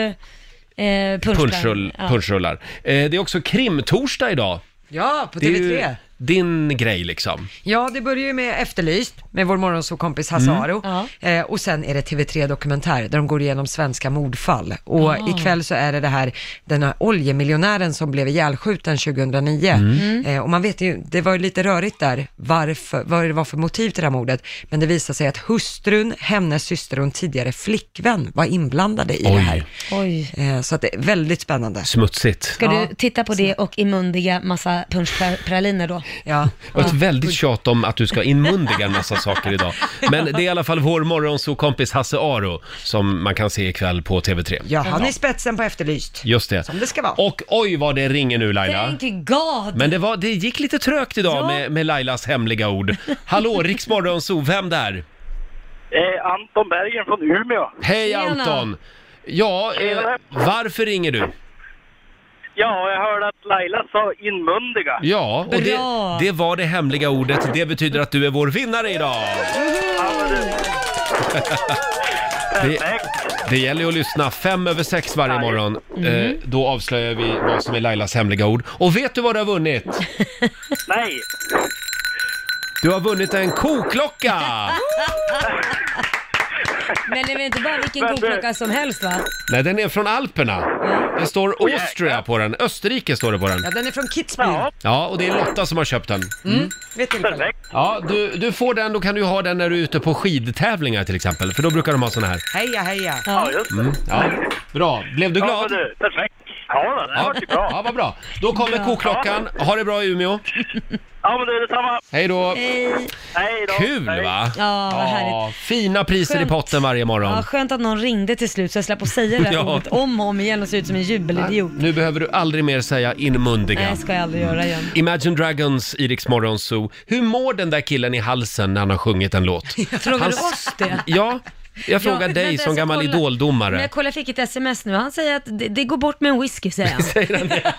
eh, eh, punschbär. punschrull, Ja. punschrullar. Eh, det är också krimtorsdag idag. Ja, på det är TV3. ju din grej liksom. Ja, det börjar ju med Efterlyst med vår morgonsåkompis Hasse Mm. Aro. Eh, och sen är det TV3 Dokumentär där de går igenom svenska mordfall. Och Ah. ikväll så är det det här, den här oljemiljonären som blev ihjälskjuten 2009. Mm. Eh, och man vet ju, det var ju lite rörigt där, varför, vad det var för motiv till det här mordet. Men det visar sig att hustrun, hennes syster och en tidigare flickvän var inblandade i det här. Oj. Eh, så att det är väldigt spännande. Smutsigt. Ska du titta på det och inmundiga massa punschpraliner då? Ja. Och ett väldigt tjat om att du ska inmundiga en massa saker idag. Men det är i alla fall vår morgonsokompis Hasse Aro som man kan se ikväll på TV3. Ja, han är spetsen på Efterlyst. Just det. Som det ska vara. Och oj vad det ringer nu Laila. Thank God! Men det, var, det gick lite trögt idag med, med Lailas hemliga ord. Hallå, Riksmorgonzoo, vem där? Eh, Anton Bergen från Umeå. Hej Anton! Ja, eh, varför ringer du? Ja, jag hörde att Laila sa inmundiga. Ja, och det, Bra. det var det hemliga ordet. Det betyder att du är vår vinnare idag! Det, det gäller ju att lyssna fem över sex varje morgon. Eh, Mm. då avslöjar vi vad som är Lailas hemliga ord. Och vet du vad du har vunnit? Nej! Du har vunnit en koklocka! Men det är väl inte bara vilken Men du- koklocka som helst va? Nej, den är från Alperna. Det står Austria på den. Österrike står det på den. Ja, den är från Kitzbühel. Ja. Ja, och det är Lotta som har köpt den. Mm. Vet tillfälle. Ja, du, du får den, då kan du ju ha den när du är ute på skidtävlingar till exempel, för då brukar de ha såna här. Heja, heja. Ja, just Mm, ja. Bra, blev du glad? du, perfekt. Ja, det Ja. var ju bra. Ja, vad bra. Då kommer koklockan. Ha det bra i Umeå. Ja, men du, detsamma. Hej då. Hej. Hej då. Kul va? Ja, vad härligt. fina priser Skönt. i potten varje Ja, morgon. skönt att någon ringde till slut så jag slapp att säga det här Ja. ordet om och om igen och se ut som en jubelidiot. Nu behöver du aldrig mer säga inmundiga. Nej, ska jag aldrig göra igen. Imagine Dragons i Rix Morgon Zoo. Hur mår den där killen i halsen när han har sjungit en låt? Frågar Han- du oss det? Ja, jag frågar Ja, dig vänta, som jag ska gammal kolla. Men idoldomare. jag kollar, jag fick ett sms nu. Han säger att det, det går bort med en whisky, säger han.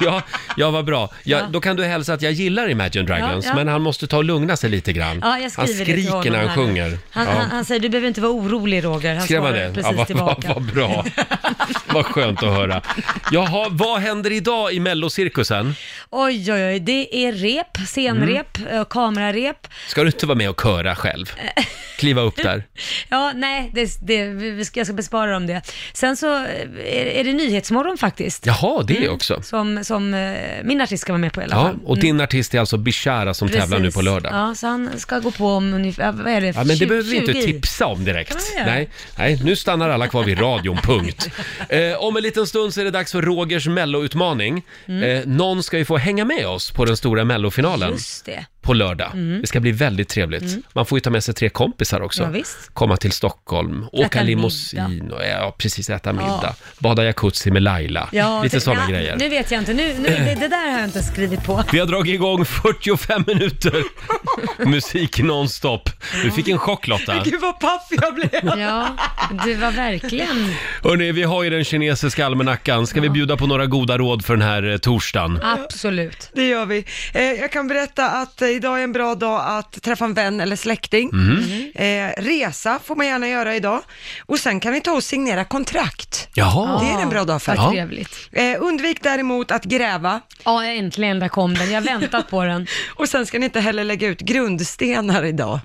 Ja, ja vad bra. Ja, Då kan du hälsa att jag gillar Imagine Dragons, Ja, ja. men han måste ta och lugna sig lite grann. Ja, jag han skriver det till skriker honom när han här. sjunger. Han, ja. han, han säger du behöver inte vara orolig Roger. Han Skrev han svarar det? precis Ja, vad, vad, tillbaka. vad bra. vad skönt att höra. Jaha, vad händer idag i Mellocirkusen? Oj, oj, oj. Det är rep, scenrep, Mm. eh, kamerarep. Ska du inte vara med och köra själv? Kliva upp där. Ja, nej, det, det, vi vi ska, jag ska bespara dem det. Sen så eh, är, är det Nyhetsmorgon faktiskt. Jaha, det Mm. också. Som, som eh, min artist ska vara med på i alla Ja, fall. och Mm. din artist är alltså Bishara som tävlar nu på Precis. lördag. Ja, så han ska gå på om ungefär, vad är det, Ja, men det tju- behöver vi inte 20 i. tipsa om direkt. Kan man göra. Nej, nej, nu stannar alla kvar vid radion, punkt. Eh, om en liten stund så är det dags för Rogers melloutmaning. Mm. Eh, någon ska ju få hänga med oss på den stora mellofinalen Just det. på lördag. Mm. Det ska bli väldigt trevligt. Mm. Man får ju ta med sig tre kompisar också. Ja, visst. Komma till Stockholm, åka Äta limousin och ja, precis äta middag. Bada jacuzzi med Laila. Ja, Lite det- sådana ja, grejer. Nu vet jag inte, nu, nu, det, det där har jag inte skrivit på. Vi har dragit igång 45 minuter musik nonstop. Du fick en chock Lotta. Gud vad paff jag blev! ja, du var verkligen... Hörrni, vi har ju den kinesiska almanackan. Ska vi bjuda på några goda råd för den här eh, torsdagen? Absolut. Det gör vi. Eh, jag kan berätta att eh, idag är en bra dag att träffa en vän eller släkting. Mm. Eh, resa får man gärna göra idag. Och sen kan vi ta och signera kontrakt. Jaha. Det är en bra dag för. Vad trevligt. Eh, undvik däremot att gräva. Ja, äntligen, där kom den. Jag har väntat på den. och sen ska ni inte heller lägga ut grundstenar idag.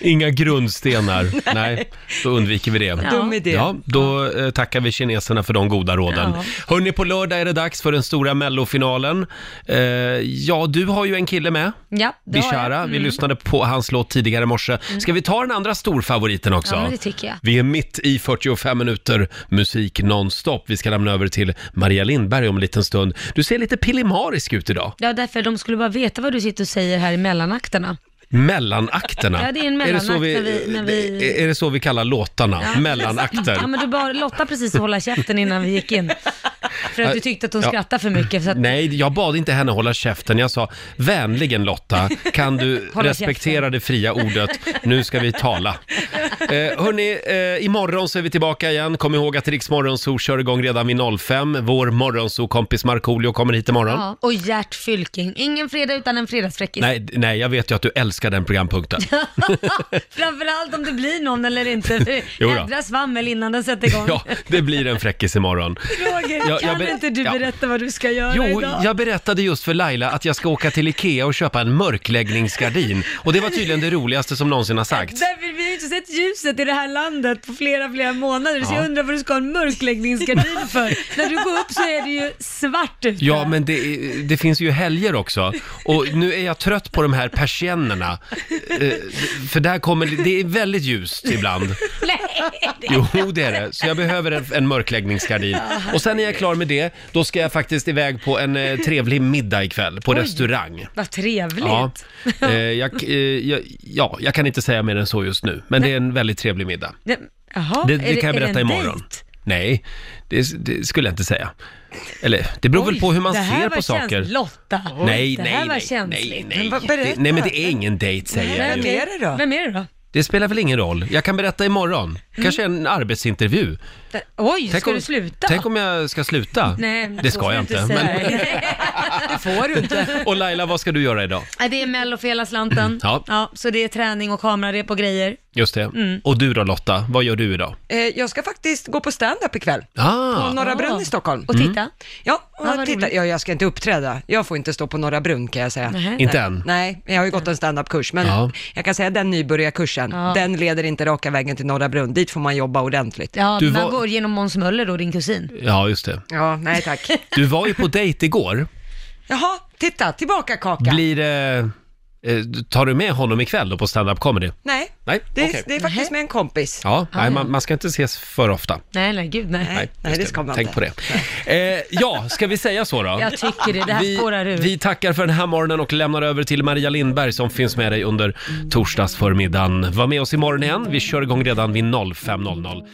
Inga grundstenar. Nej. då undviker vi det. Dum idé. Ja, då eh, tackar vi kineserna för de goda råden. Ja. Hörni, på lördag är det dags för den stora mellofinalen. Eh, ja, du har ju en kille med. Ja, det har Bishara, jag. vi Mm. lyssnade på hans låt tidigare i morse. Mm. Ska vi ta den andra storfavoriten också? Ja, men det tycker jag. Vi är mitt i 45 minuter musik nonstop. Vi ska lämna över till Maria Lindberg om en liten stund. Du ser lite pillemarisk ut idag. Ja, därför de skulle bara veta vad du sitter och säger här i mellanakterna. Mellanakterna. Ja, det är en mellanakt så vi, när vi- när vi- Är det så vi kallar låtarna? Ja. Mellanakter. Ja, men du bara Lotta precis att hålla käften innan vi gick in. För att du tyckte att hon Ja. skrattade för mycket. Så att, Nej, jag bad inte henne hålla käften. Jag sa, vänligen Lotta, kan du Hålla respektera käften." det fria ordet? Nu ska vi tala. Eh, hörni, eh, imorgon så är vi tillbaka igen. Kom ihåg att Riks Morgonzoo kör igång redan vid 05. Vår Morgonzoo-kompis Markoolio kommer hit imorgon. ja. Och Gert Fylking. Ingen fredag utan en fredagsfräckis. Nej, d- nej, jag vet ju att du älskar den programpunkten. Framförallt om det blir någon eller inte. Jo då. Jädra svammel innan den sätter igång. Ja, det blir en fräckis imorgon. Roger, Ja, jag kan ber- inte du ja. berätta vad du ska göra Jo, idag? jag berättade just för Laila att jag ska åka till Ikea och köpa en mörkläggningsgardin. Och det var tydligen det roligaste som någonsin har sagts. Därför vi har ju inte sett ljuset i det här landet på flera, flera månader. Så Ja. jag undrar vad du ska ha en mörkläggningsgardin för. När du går upp så är det ju svart ute. Ja, men det, är- det finns ju helger också. Och nu är jag trött på de här persiennerna. Eh, För där kommer, det är väldigt ljust ibland. Nej! det- Jo, det är det. Så jag behöver en, en mörkläggningsgardin. Och sen när jag är klar med det, då ska jag faktiskt iväg på en eh, trevlig middag ikväll, på Oj. restaurang. Vad trevligt. Ja, eh, jag, eh, jag, ja, jag kan inte säga mer än så just nu, men det är en väldigt trevlig middag. Ja, Jaha, Det, är det kan jag är berätta en imorgon. dejt? Nej, det, det skulle jag inte säga. Eller, det beror väl Oj, på hur man det här ser var på saker. känsligt. Lotta, Oj. Nej, det nej, här var nej, känsligt. nej, Det, nej, men det är ingen dejt säger jag ju. det då? Vem är det då? Det spelar väl ingen roll. Jag kan berätta imorgon. Kanske en arbetsintervju. Det- Oj, Tänk ska om- Mm. du sluta? Tänk om jag ska sluta. Nej, det så ska jag inte. säga Men... det får du inte. Och Laila, vad ska du göra idag? Nej, Det är mello för hela slanten. Ja. så det är träning och kamerarep och grejer. Just det. Mm. Och du då Lotta, vad gör du idag? Eh, jag ska faktiskt gå på stand-up ikväll. Mm. Ah. På Norra Ah. Brunn i Stockholm. Och titta? Ja, och Ah, vad titta. roligt. Ja, jag ska inte uppträda. Jag får inte stå på Norra Brunn kan jag säga. Nähä. Inte Nej. än? Nej, jag har ju gått en stand-up-kurs, men Ja. jag kan säga den nybörjarkursen, Ja. den leder inte raka vägen till Norra Brunn. Dit får man jobba ordentligt. Ja, man går genom Måns Möller då, din kusin. Ja, just det. Ja, nej tack. Du var ju på dejt igår. Jaha, titta, tillbaka kaka. Blir det... eh, Tar du med honom ikväll då på stand-up comedy? Nej, Nej, det, okej. det är faktiskt med en kompis. Ja, ja. nej, man, man ska inte ses för ofta. Nej, nej, gud nej. Nej, nej, just det ska man Tänk inte. på det. Eh, ja, ska vi säga så då? Jag tycker det. Det här vi, spårar ur. Vi tackar för den här morgonen och lämnar över till Maria Lindberg som finns med dig under torsdagsförmiddagen. Var med oss imorgon igen. Vi kör igång redan vid 05.00.